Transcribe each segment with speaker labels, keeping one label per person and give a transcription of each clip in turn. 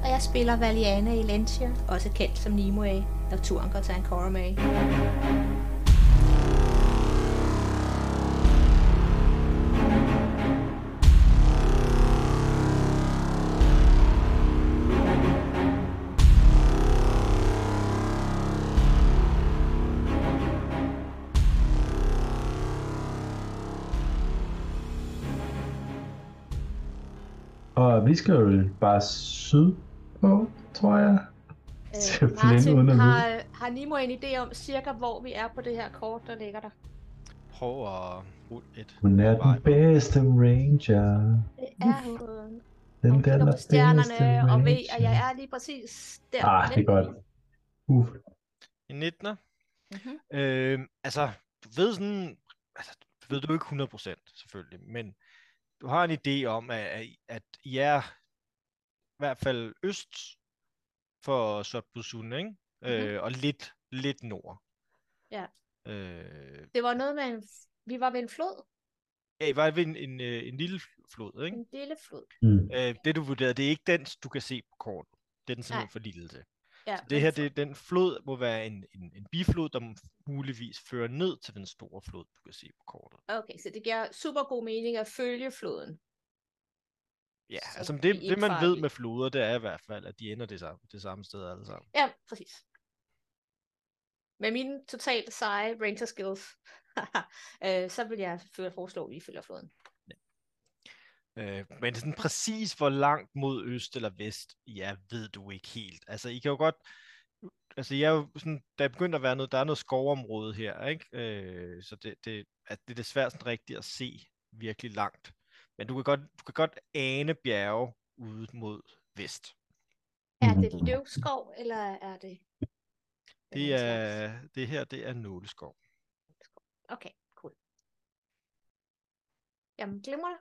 Speaker 1: Freja spiller Valiana i Lentia, også kendt som Nimue, når turen går til Ankara May.
Speaker 2: Og vi skal jo bare syd på, tror jeg.
Speaker 1: Øh,
Speaker 2: Simpelthen uden at
Speaker 1: Martin,
Speaker 2: vide.
Speaker 1: har, har Nimo en idé om cirka, hvor vi er på det her kort, der ligger der?
Speaker 3: Prøv at rulle et.
Speaker 2: Hun er
Speaker 3: Vej.
Speaker 2: den bedste ranger.
Speaker 1: Det er hun.
Speaker 2: Den
Speaker 1: Hun
Speaker 2: der
Speaker 1: kigger
Speaker 2: er
Speaker 1: på stjernerne
Speaker 2: bedste
Speaker 1: og ved, at
Speaker 2: ranger.
Speaker 1: jeg er lige præcis der.
Speaker 2: Ah, det er godt. Uh,
Speaker 3: En 19'er.
Speaker 1: Mhm.
Speaker 3: Øh, altså, du ved sådan, altså, du ved du ikke 100% selvfølgelig, men du har en idé om, at, at, at I er i hvert fald øst for Sotbusun, ikke? Øh, og lidt, lidt nord.
Speaker 1: Mhm. Ja.
Speaker 3: Øh,
Speaker 1: Det var noget med en... Vi var ved en flod.
Speaker 3: ja, I var ved en, en, øh, en lille flod, ikke?
Speaker 1: En lille flod.
Speaker 2: mm.
Speaker 3: Øh, det du vurderede, det er ikke den, du kan se på kortet. Det er den simpelthen
Speaker 1: Nej.
Speaker 3: for lille til.
Speaker 1: Ja,
Speaker 3: Så det her, det, den flod må være en, en, en biflod, der muligvis fører ned til den store flod, du kan se på kortet.
Speaker 1: Okay, så det giver super god mening at følge floden.
Speaker 3: Ja,
Speaker 1: Så
Speaker 3: altså
Speaker 1: kan
Speaker 3: det,
Speaker 1: vi
Speaker 3: det man
Speaker 1: indfare
Speaker 3: ved
Speaker 1: det.
Speaker 3: med floder, det er i hvert fald, at de ender det samme, det samme sted alle sammen.
Speaker 1: Ja, præcis. Med mine totalt seje ranger skills, øh, så vil jeg føre- foreslå, at vi følger floden.
Speaker 3: Øh, men sådan præcis hvor langt mod øst eller vest, ja, ved du ikke helt. Altså, I kan jo godt... Altså, jeg er jo sådan, der er begyndt at være noget, der er noget skovområde her, ikke? Øh, så det, det, at det er desværre sådan rigtigt at se virkelig langt. Men du kan godt, du kan godt ane bjerge ude mod vest.
Speaker 1: Er det
Speaker 2: Mhm.
Speaker 1: løvskov, eller er det...
Speaker 3: Det
Speaker 1: anden slags?
Speaker 3: er, det her, det er nåleskov.
Speaker 1: Okay, cool. Jamen, glemmer det.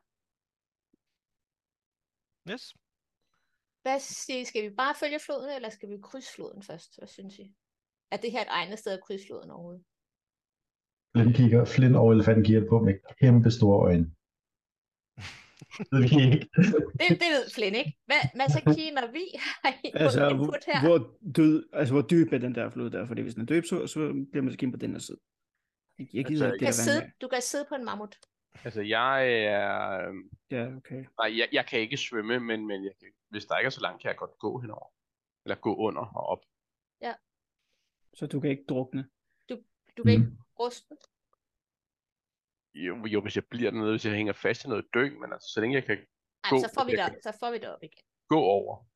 Speaker 3: Yes.
Speaker 1: Hvad siger I? Skal vi bare følge floden, eller skal vi krydse floden først? Hvad synes I? Er det her et egnet sted at krydse floden overhovedet?
Speaker 2: Flynn kigger, Flynn og elefanten kigger på med kæmpe store øjne. Det ved vi ikke.
Speaker 1: Det, det ved Flynn, ikke? Hvad, Masakine og vi har I noget
Speaker 4: Altså, hvor,
Speaker 1: input her.
Speaker 4: hvor, død, altså, hvor dyb er den der flod der? Fordi hvis den er dyb, så, så bliver man så på den her side. Jeg gider
Speaker 5: Altså,
Speaker 4: ikke
Speaker 1: Du
Speaker 4: det
Speaker 1: kan,
Speaker 4: der
Speaker 1: sidde,
Speaker 4: vand
Speaker 1: du kan sidde på en mammut.
Speaker 5: Altså, jeg er... øhm,
Speaker 4: der. Ja, okay.
Speaker 5: Nej, jeg, jeg kan ikke svømme, men, men jeg kan, hvis der ikke er så langt, kan jeg godt gå henover. Eller gå under og op.
Speaker 4: Så du kan ikke drukne.
Speaker 1: Du
Speaker 2: Mm.
Speaker 4: Mm.
Speaker 1: kan ikke ruste.
Speaker 5: Jo, jo hvis jeg bliver dernede, hvis jeg hænger fast i noget dyng, men altså, så længe jeg kan
Speaker 1: Ej,
Speaker 5: God,
Speaker 1: så får vi
Speaker 5: jeg
Speaker 1: det op,
Speaker 5: kan-
Speaker 1: så får vi det op igen.
Speaker 5: gå over,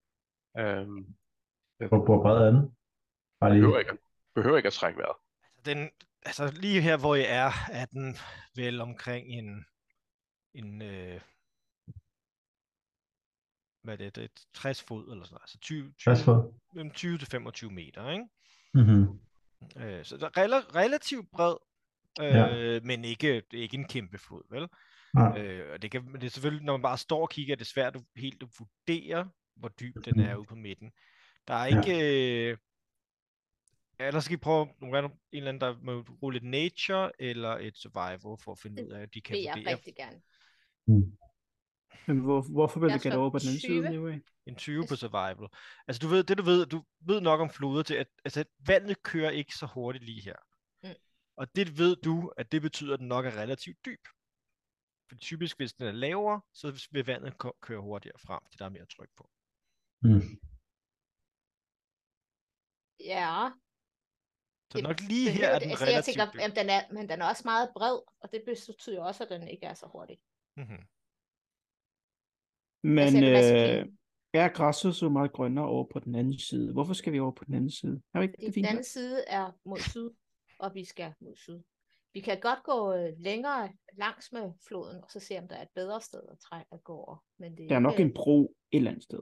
Speaker 5: øhm,
Speaker 2: Hvor bor bredden? Bare lige.
Speaker 5: behøver, ikke, at- behøver ikke at trække vejret.
Speaker 3: Den, altså lige her, hvor I er, er den vel omkring en, en øh, hvad er det, det er 60 fod eller sådan noget. Altså 20, 20,
Speaker 2: Pas for.
Speaker 3: mellem 20 til 25 meter, ikke?
Speaker 2: Mm-hmm.
Speaker 3: Øh, så der er rela- relativt bred,
Speaker 2: Ja.
Speaker 3: øh, men ikke, det er ikke en kæmpe flod, vel?
Speaker 2: Nej.
Speaker 3: Øh, og det, kan, men det er selvfølgelig, når man bare står og kigger, er det svært at helt at vurdere, hvor dyb den er ude på midten. Der er
Speaker 2: Mm. Ja.
Speaker 3: ikke... Ja. Øh, ja, der skal I prøve nogle random, en eller anden, der må rulle et nature eller et survival for at finde
Speaker 1: Det
Speaker 3: ud af, at de kan
Speaker 1: Vil jeg
Speaker 3: vurdere
Speaker 1: rigtig gerne.
Speaker 4: Men hvor, hvorfor vil
Speaker 1: Jeg
Speaker 4: du gætte
Speaker 1: slår
Speaker 4: over på den anden
Speaker 1: 20.
Speaker 4: side? Anyway?
Speaker 3: en 20 på
Speaker 1: Altså-
Speaker 3: survival. Altså du ved, det du ved, du ved nok om floder til, at altså, vandet kører ikke så hurtigt lige her.
Speaker 1: Mm.
Speaker 3: Og det ved du, at det betyder, at den nok er relativt dyb. For typisk, hvis den er lavere, så vil vandet ko- køre hurtigere frem, fordi der er mere tryk på.
Speaker 2: Mm.
Speaker 1: Ja,
Speaker 3: Så
Speaker 1: Det
Speaker 3: nok lige her
Speaker 1: behøver
Speaker 3: er
Speaker 1: det-
Speaker 3: den
Speaker 1: altså, jeg
Speaker 3: relativt
Speaker 1: tænker,
Speaker 3: dyb.
Speaker 1: jamen, den er, men den er også meget bred, og det betyder jo også, at den ikke er så hurtig.
Speaker 3: Mhm.
Speaker 4: Men
Speaker 1: siger du, Mads
Speaker 4: øh, er græsset så meget grønnere over på den anden side? Hvorfor skal vi over på den anden side? Er vi ikke
Speaker 1: Fordi den
Speaker 4: det fint? nok?
Speaker 1: anden side er mod syd, og vi skal mod syd. Vi kan godt gå øh, længere langs med floden, og så se, om der er et bedre sted at, træ- at gå over. Men det
Speaker 4: Der er nok
Speaker 1: ikke-
Speaker 4: en bro et eller andet sted.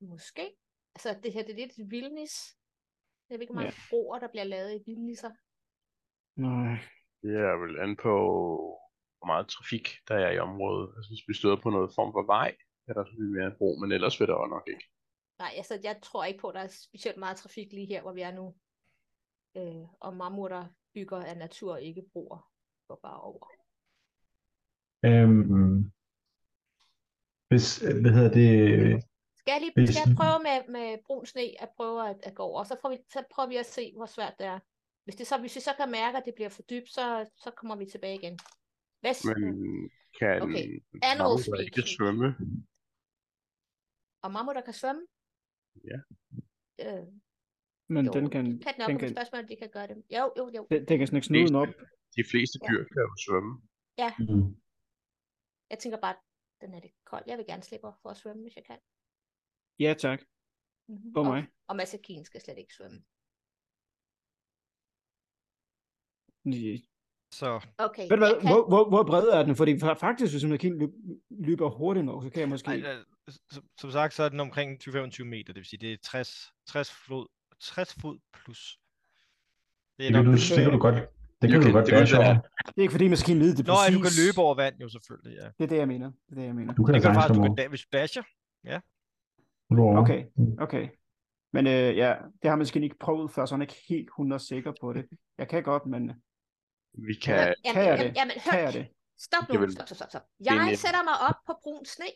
Speaker 1: Måske. Altså, det her det er lidt et vildnis. Jeg ved ikke, hvor
Speaker 4: Ja.
Speaker 1: mange broer, der bliver lavet i vildnisser.
Speaker 4: Nej.
Speaker 5: Det er vel an på, hvor meget trafik der er i området. Altså, hvis vi støder på noget form for vej, er der selvfølgelig mere bro, men ellers vil der jo nok ikke.
Speaker 1: Nej, altså, jeg tror ikke på, at der er specielt meget trafik lige her, hvor vi er nu. Øh, og mammutter bygger af natur ikke broer. Går bare over.
Speaker 2: Øhm, hvis, øh, hvad hedder det,
Speaker 1: Skal jeg, lige,
Speaker 2: Hvis-
Speaker 1: skal jeg prøve med, med brun sne at prøve at, at gå over, og så, får vi, så prøver vi at se, hvor svært det er. Hvis, det så, hvis vi så kan mærke, at det bliver for dybt, så, så kommer vi tilbage igen. Hvad
Speaker 5: Men
Speaker 1: Men...
Speaker 5: kan
Speaker 1: Okay.
Speaker 5: Mammut,
Speaker 1: Animal
Speaker 5: der ikke kan
Speaker 1: speak.
Speaker 5: svømme?
Speaker 1: Og mammutter kan svømme?
Speaker 5: Ja.
Speaker 1: Øh,
Speaker 4: Men
Speaker 1: jo,
Speaker 4: den kan,
Speaker 1: de kan nok
Speaker 4: den
Speaker 1: kan...
Speaker 4: kan,
Speaker 1: spørgsmål, om de kan gøre det. Jo, jo, jo.
Speaker 4: den, den kan snakke snuden op.
Speaker 5: De fleste
Speaker 1: Ja.
Speaker 5: dyr kan jo svømme.
Speaker 2: Mm.
Speaker 1: Jeg tænker bare, den er lidt kold. Jeg vil gerne slippe for at svømme, hvis jeg kan.
Speaker 4: Ja tak,
Speaker 1: Mm-hmm.
Speaker 4: på mig.
Speaker 1: Og, og Masakin skal slet ikke svømme.
Speaker 4: Ja.
Speaker 3: Så
Speaker 1: Okay,
Speaker 4: Ved du
Speaker 1: Øh,
Speaker 4: hvad,
Speaker 1: jeg kan...
Speaker 4: hvor, hvor, hvor bred er den? Fordi fa- faktisk, hvis man kan løber hurtigt nok, så kan jeg måske...
Speaker 3: Nej, øh, som, som sagt, så er den omkring 20-25 meter, det vil sige, det er 60, 60, fod, 60 fod plus. Det
Speaker 2: Det kan, du,
Speaker 3: nok-
Speaker 2: det kan du godt, det kan
Speaker 5: Det
Speaker 2: du
Speaker 5: kan-
Speaker 2: godt
Speaker 5: det
Speaker 2: være
Speaker 5: kan være.
Speaker 2: sjovt.
Speaker 4: Det er ikke fordi, man skal lide det
Speaker 3: Nå, ja, du kan
Speaker 4: præcis.
Speaker 3: løbe over vand jo selvfølgelig, ja.
Speaker 4: Det er det, jeg mener. Det er det, jeg mener.
Speaker 2: Du kan
Speaker 3: Det kan
Speaker 2: sagtens
Speaker 3: faktisk, Altså, du
Speaker 2: komme
Speaker 3: kan,
Speaker 2: over.
Speaker 3: da- hvis du dasher,
Speaker 2: Du lover.
Speaker 4: Okay,
Speaker 2: Mm.
Speaker 4: okay. Men øh, ja, det har man måske ikke prøvet før, så han er ikke helt 100 sikker på det. Jeg kan godt, men
Speaker 5: Vi kan...
Speaker 1: Jamen, jamen,
Speaker 4: kan jeg
Speaker 1: jamen,
Speaker 4: det?
Speaker 1: jamen, hør,
Speaker 4: kan jeg det?
Speaker 1: Stop
Speaker 5: Det
Speaker 1: nu,
Speaker 5: vil-
Speaker 1: stop, stop, stop, stop.
Speaker 5: er
Speaker 1: Jeg
Speaker 5: nemt.
Speaker 1: sætter mig op på brun sne,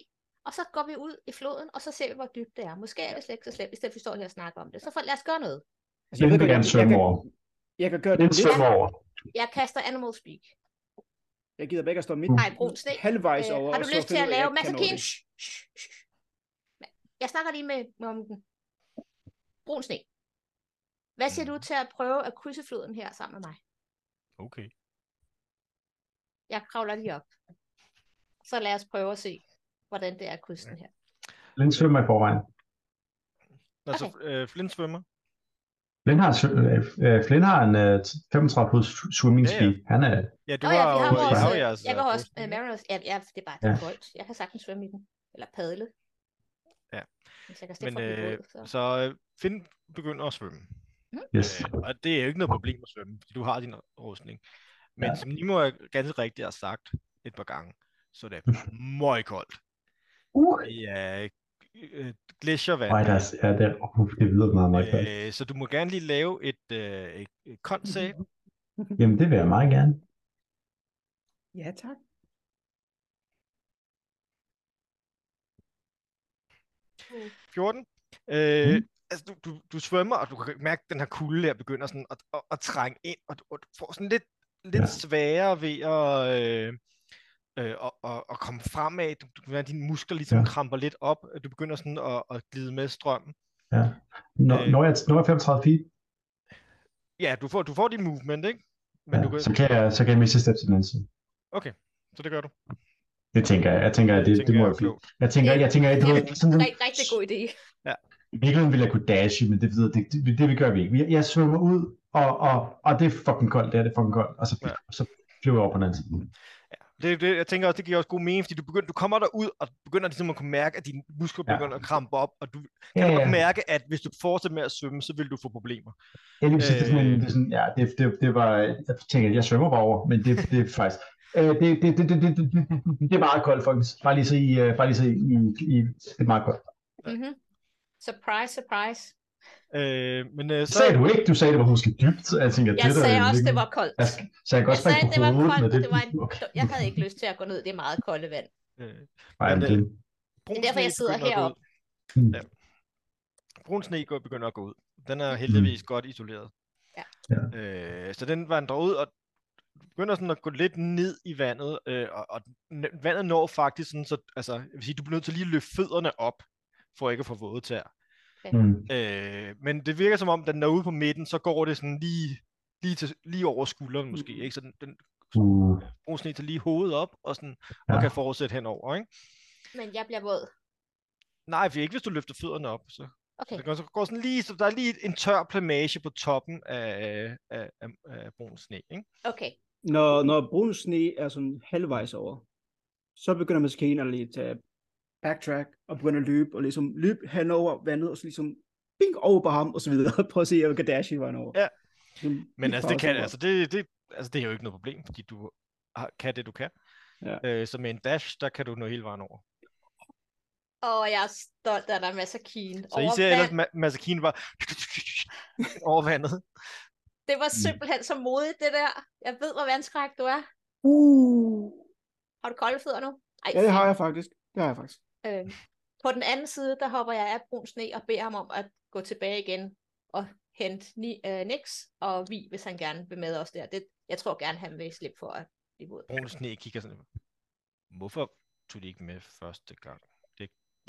Speaker 1: og så går vi ud i floden, og så ser vi, hvor dybt det er. Måske er det slet ikke så slemt, i stedet for at vi står her og snakker om det. Så for, lad os gøre noget.
Speaker 4: Altså,
Speaker 2: Den
Speaker 4: ved
Speaker 2: vil
Speaker 4: godt,
Speaker 2: gerne
Speaker 4: jeg-
Speaker 2: svømme
Speaker 4: jeg kan-
Speaker 2: over.
Speaker 4: Jeg kan gøre det
Speaker 2: Den
Speaker 4: lidt.
Speaker 2: svømmer over.
Speaker 1: Jeg kaster animal speak.
Speaker 4: Jeg gider bare ikke at stå midt
Speaker 1: Nej, brun sne.
Speaker 4: halvvejs
Speaker 1: Øh,
Speaker 4: over.
Speaker 1: har
Speaker 4: og
Speaker 1: du
Speaker 4: så
Speaker 1: lyst til
Speaker 4: finde
Speaker 1: at
Speaker 4: ud af,
Speaker 1: lave
Speaker 4: jeg ikke kan nå
Speaker 1: massakin?
Speaker 4: det.
Speaker 1: Jeg snakker lige med med om den. Brun sne. Hvad siger du til at prøve at krydse floden her sammen med mig?
Speaker 3: Okay.
Speaker 1: Jeg kravler lige op. Så lad os prøve at se, hvordan det er at krydse den her.
Speaker 2: Den svømmer i forvejen.
Speaker 3: Nå, så øh, Flint svømmer.
Speaker 2: Flynn har, sv- øh, øh, Flynn har en øh, 35 fods swimming
Speaker 3: Ja, ja.
Speaker 2: speed. Han er,
Speaker 3: Ja, du
Speaker 1: Nå
Speaker 3: har,
Speaker 1: ja, vi har
Speaker 3: jo-
Speaker 1: vores,
Speaker 3: I har jo
Speaker 1: øh,
Speaker 3: jeres,
Speaker 1: jeg
Speaker 3: øh,
Speaker 1: kan også,
Speaker 3: rustning,
Speaker 1: uh,
Speaker 3: ikke?
Speaker 1: Mariners, ja, ja, det er bare
Speaker 2: Ja.
Speaker 1: ja. koldt. Jeg kan sagtens svømme i den, eller padle.
Speaker 3: Ja.
Speaker 1: Hvis jeg kan
Speaker 3: Men
Speaker 1: slippe fra øh,
Speaker 3: øh,
Speaker 1: ud, så.
Speaker 3: så øh, Finn begynder at svømme.
Speaker 2: yes.
Speaker 3: Øh, og det er jo ikke noget problem at svømme, fordi du har din rustning. Men ja.
Speaker 2: Ja.
Speaker 3: som Nimo er ganske rigtigt har sagt et par gange, så er det meget koldt.
Speaker 2: Uh,
Speaker 3: Det er øh, gletsjervand.
Speaker 2: Ej, der, er- ja, det, er- uh, det lyder meget, meget godt.
Speaker 3: Øh, så du må gerne lige lave et, øh, et, et koncept.
Speaker 2: Jamen, det vil jeg meget gerne.
Speaker 4: Ja, tak.
Speaker 1: Uh.
Speaker 3: 14. Øh,
Speaker 2: Mhm.
Speaker 3: Altså, du, du, du svømmer, og du kan mærke, at den her kulde der begynder sådan at, at, at trænge ind, og du, og du får sådan lidt, lidt
Speaker 2: Ja.
Speaker 3: sværere ved at, øh, øh, at, at, at komme fremad. Du, du kan mærke, at dine muskler ligesom
Speaker 2: Ja.
Speaker 3: kramper lidt op. og Du begynder sådan at, at glide med strømmen.
Speaker 2: Når,
Speaker 3: Øh.
Speaker 2: når, jeg, når jeg er 35 feet,
Speaker 3: Ja, du får, du får din movement, ikke? Men
Speaker 2: ja,
Speaker 3: du kan,
Speaker 2: så, kan jeg, så kan jeg miste step til den anden side.
Speaker 3: så det gør du.
Speaker 2: Det tænker jeg. Jeg tænker, at det, det, må
Speaker 3: jeg er
Speaker 2: jeg blive.
Speaker 3: klogt.
Speaker 2: Jeg tænker, jeg tænker, at
Speaker 1: det
Speaker 2: du ved,
Speaker 1: er
Speaker 2: sådan,
Speaker 1: en rigtig, rigtig god idé.
Speaker 2: i virkeligheden ville jeg kunne dashe, men det, det, det, det, det gør vi ikke. Jeg, jeg svømmer ud, og, og, og det er fucking koldt, det er det fucking koldt, og så,
Speaker 3: Ja.
Speaker 2: så flyver jeg over på den anden side.
Speaker 3: Det, det, jeg tænker også, det giver også god mening, fordi du, begynder, du kommer derud, og du begynder ligesom at kunne mærke, at dine muskler
Speaker 2: Ja.
Speaker 3: begynder at krampe op, og du
Speaker 2: Ja,
Speaker 3: kan
Speaker 2: ja,
Speaker 3: ja, godt mærke, at hvis du fortsætter med at svømme, så vil du få problemer.
Speaker 2: Jeg lige sige, det, er sådan,
Speaker 3: Øh.
Speaker 2: en- det, er sådan, ja, det, det, det var, jeg tænker, jeg svømmer bare over, men det, det er faktisk, øh, det, det, det, det, det, det, det, det er meget koldt, folkens. Bare lige så I, øh, bare lige så I, I, I det er meget koldt.
Speaker 1: Mm-hmm. Surprise, surprise.
Speaker 3: Øh, men øh,
Speaker 2: Så
Speaker 3: så,
Speaker 2: sagde du ikke, du sagde, det var måske dybt, så jeg tænker,
Speaker 1: Jeg
Speaker 2: det
Speaker 1: sagde
Speaker 2: der,
Speaker 1: også, det var koldt.
Speaker 2: Altså, så jeg kan
Speaker 1: Jeg
Speaker 2: også
Speaker 1: sagde,
Speaker 2: springe
Speaker 1: det
Speaker 2: på
Speaker 1: var
Speaker 2: hovedet
Speaker 1: koldt,
Speaker 2: med
Speaker 1: og det var en...
Speaker 2: Okay.
Speaker 1: Jeg havde ikke lyst til at gå ned i det meget kolde vand.
Speaker 3: øh,
Speaker 2: Nej, men det,
Speaker 3: brun
Speaker 1: Det er derfor,
Speaker 3: sne
Speaker 1: jeg sidder
Speaker 3: begynder at gå
Speaker 1: heroppe.
Speaker 3: ud. Ja. Brun sne går- begynder at gå ud. Den er heldigvis godt isoleret.
Speaker 1: Ja.
Speaker 2: Mm. Ja.
Speaker 3: Øh, så den vandrer ud, og du begynder sådan at gå lidt ned i vandet, øh, og, og n- vandet når faktisk sådan, så altså, jeg vil sige, du bliver nødt til lige at løfte fødderne op, for ikke at få våde tæer.
Speaker 2: mm,
Speaker 3: Øh, men det virker som om, da den er ude på midten, så går det sådan lige, lige, til, lige over skulderen måske.
Speaker 4: Mm.
Speaker 3: Ikke? Så den, den
Speaker 2: uh,
Speaker 3: bruger sådan en til lige hovedet op og, sådan,
Speaker 2: Ja.
Speaker 3: og kan fortsætte henover. Ikke?
Speaker 1: Men jeg bliver våd.
Speaker 3: Nej, for ikke hvis du løfter fødderne op. Så, så
Speaker 1: Okay,
Speaker 3: det går, så går sådan lige, så der er lige en tør plamage på toppen af, af, af, af brun sne. Ikke?
Speaker 1: okay.
Speaker 4: Når, når brun sne er sådan halvvejs over, så begynder maskinen at lige tage backtrack og begynder at løbe, og ligesom løbe henover vandet, og så ligesom bing over på ham, og så videre. Prøv at se, jeg kan dash i vejen over.
Speaker 3: Ja.
Speaker 4: Sådan
Speaker 3: Men
Speaker 4: lige
Speaker 3: altså, det
Speaker 4: pause
Speaker 3: kan,
Speaker 4: over.
Speaker 3: altså, det, det, altså, det er jo ikke noget problem, fordi du har, kan det, du kan.
Speaker 4: Ja.
Speaker 3: Øh, så med en dash, der kan du nå hele vejen over.
Speaker 1: Og jeg er stolt af dig, Masakin.
Speaker 3: Så I
Speaker 1: Over
Speaker 3: ser ellers
Speaker 1: vand.
Speaker 3: ma- Masakine bare over vandet.
Speaker 1: Det var simpelthen så modigt, det der. Jeg ved, hvor vandskræk du er.
Speaker 4: Uh,
Speaker 1: Har du kolde fødder nu? Ej,
Speaker 4: ja, det har
Speaker 1: fedt.
Speaker 4: jeg faktisk. Det har jeg faktisk.
Speaker 1: Øh, På den anden side, der hopper jeg af brun sne og beder ham om at gå tilbage igen og hente Ni- øh, Nix og Vi, hvis han gerne vil med os der. Det, jeg tror gerne, han vil slippe for at blive våd.
Speaker 3: Brun sne kigger sådan. Hvorfor tog de ikke med første gang?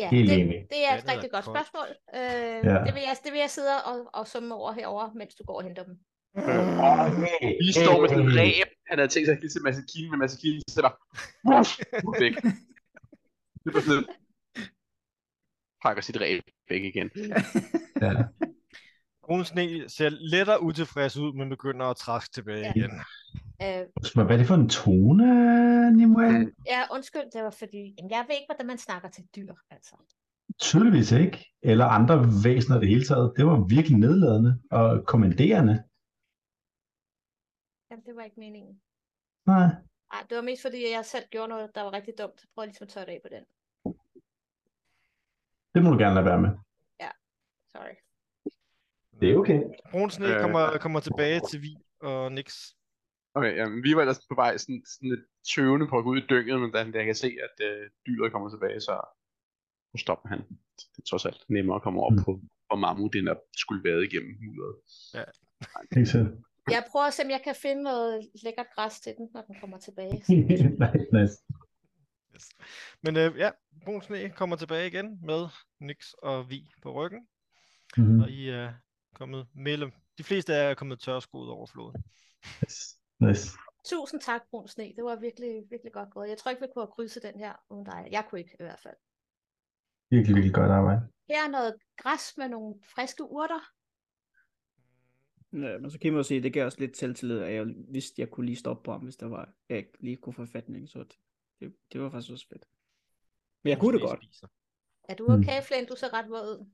Speaker 1: Ja,
Speaker 2: Helt
Speaker 1: det,
Speaker 2: enig.
Speaker 1: det er et
Speaker 3: Vandet er
Speaker 1: rigtig godt
Speaker 3: koldt.
Speaker 1: spørgsmål. Øh,
Speaker 2: Ja.
Speaker 1: ja. det, vil jeg, det vil jeg sidde og, og summe over herover, mens du går og henter dem.
Speaker 5: Vi står med sådan en
Speaker 2: Øh.
Speaker 5: ræb, han havde tænkt sig at give til Masakine, men Masakine så der... Wuff! Væk. Det var sådan... Pakker sit ræb væk igen.
Speaker 2: Ja.
Speaker 3: Brun sne ser lettere utilfreds ud, men begynder at trække tilbage
Speaker 1: Ja.
Speaker 3: igen.
Speaker 1: Øh,
Speaker 2: Hvad er det for en tone, Nimue?
Speaker 1: ja, undskyld, det var fordi, jamen, jeg ved ikke, hvordan man snakker til dyr, altså.
Speaker 2: Tydeligvis ikke. Eller andre væsener i det hele taget. Det var virkelig nedladende og kommanderende.
Speaker 1: Jamen, det var ikke meningen.
Speaker 2: Nej.
Speaker 1: Ej, det var mest fordi, jeg selv gjorde noget, der var rigtig dumt. Så prøv ligesom at tørre det af på den.
Speaker 2: Det må du gerne lade være med.
Speaker 1: Sorry.
Speaker 2: Det er okay.
Speaker 3: Brun sne
Speaker 5: Øh.
Speaker 3: kommer, kommer tilbage til Vi og Nix.
Speaker 5: Okay, jamen, vi var ellers på vej sådan, sådan lidt tøvende på at gå ud i dynget, men da da jeg kan se, at øh, dyret kommer tilbage, så så stopper han. Det er trods alt nemmere at komme op
Speaker 2: Mm.
Speaker 5: på, hvor mammut den er skulle være igennem mudderet.
Speaker 2: Ikke så.
Speaker 1: Jeg prøver at se, om jeg kan finde noget lækkert græs til den, når den kommer tilbage.
Speaker 2: nice, nice.
Speaker 3: Yes. Men øh, ja, Brun sne kommer tilbage igen med Nix og Vi på ryggen.
Speaker 2: Mm-hmm.
Speaker 3: Og I er kommet mellem... De fleste af jer er kommet tørskoet over floden.
Speaker 2: nice.
Speaker 1: Tusind tak, Brun Sne. Det var virkelig, virkelig godt gået. Jeg tror ikke, vi kunne have krydset den her uden dig. Jeg kunne ikke, i hvert fald.
Speaker 2: Virkelig, virkelig godt arbejde.
Speaker 1: Her er noget græs med nogle friske urter.
Speaker 4: Ja, Øh, men så kan man jo se, det gav også lidt selvtillid, at jeg vidste, jeg kunne lige stoppe på ham, hvis der var, jeg ikke lige kunne få fatning, så det, det var faktisk også fedt. Men jeg
Speaker 3: Brun
Speaker 4: kunne det
Speaker 3: sne
Speaker 4: godt.
Speaker 3: spiser.
Speaker 1: Er du
Speaker 2: Mm.
Speaker 1: okay, Flynn? Du ser ret våd ud.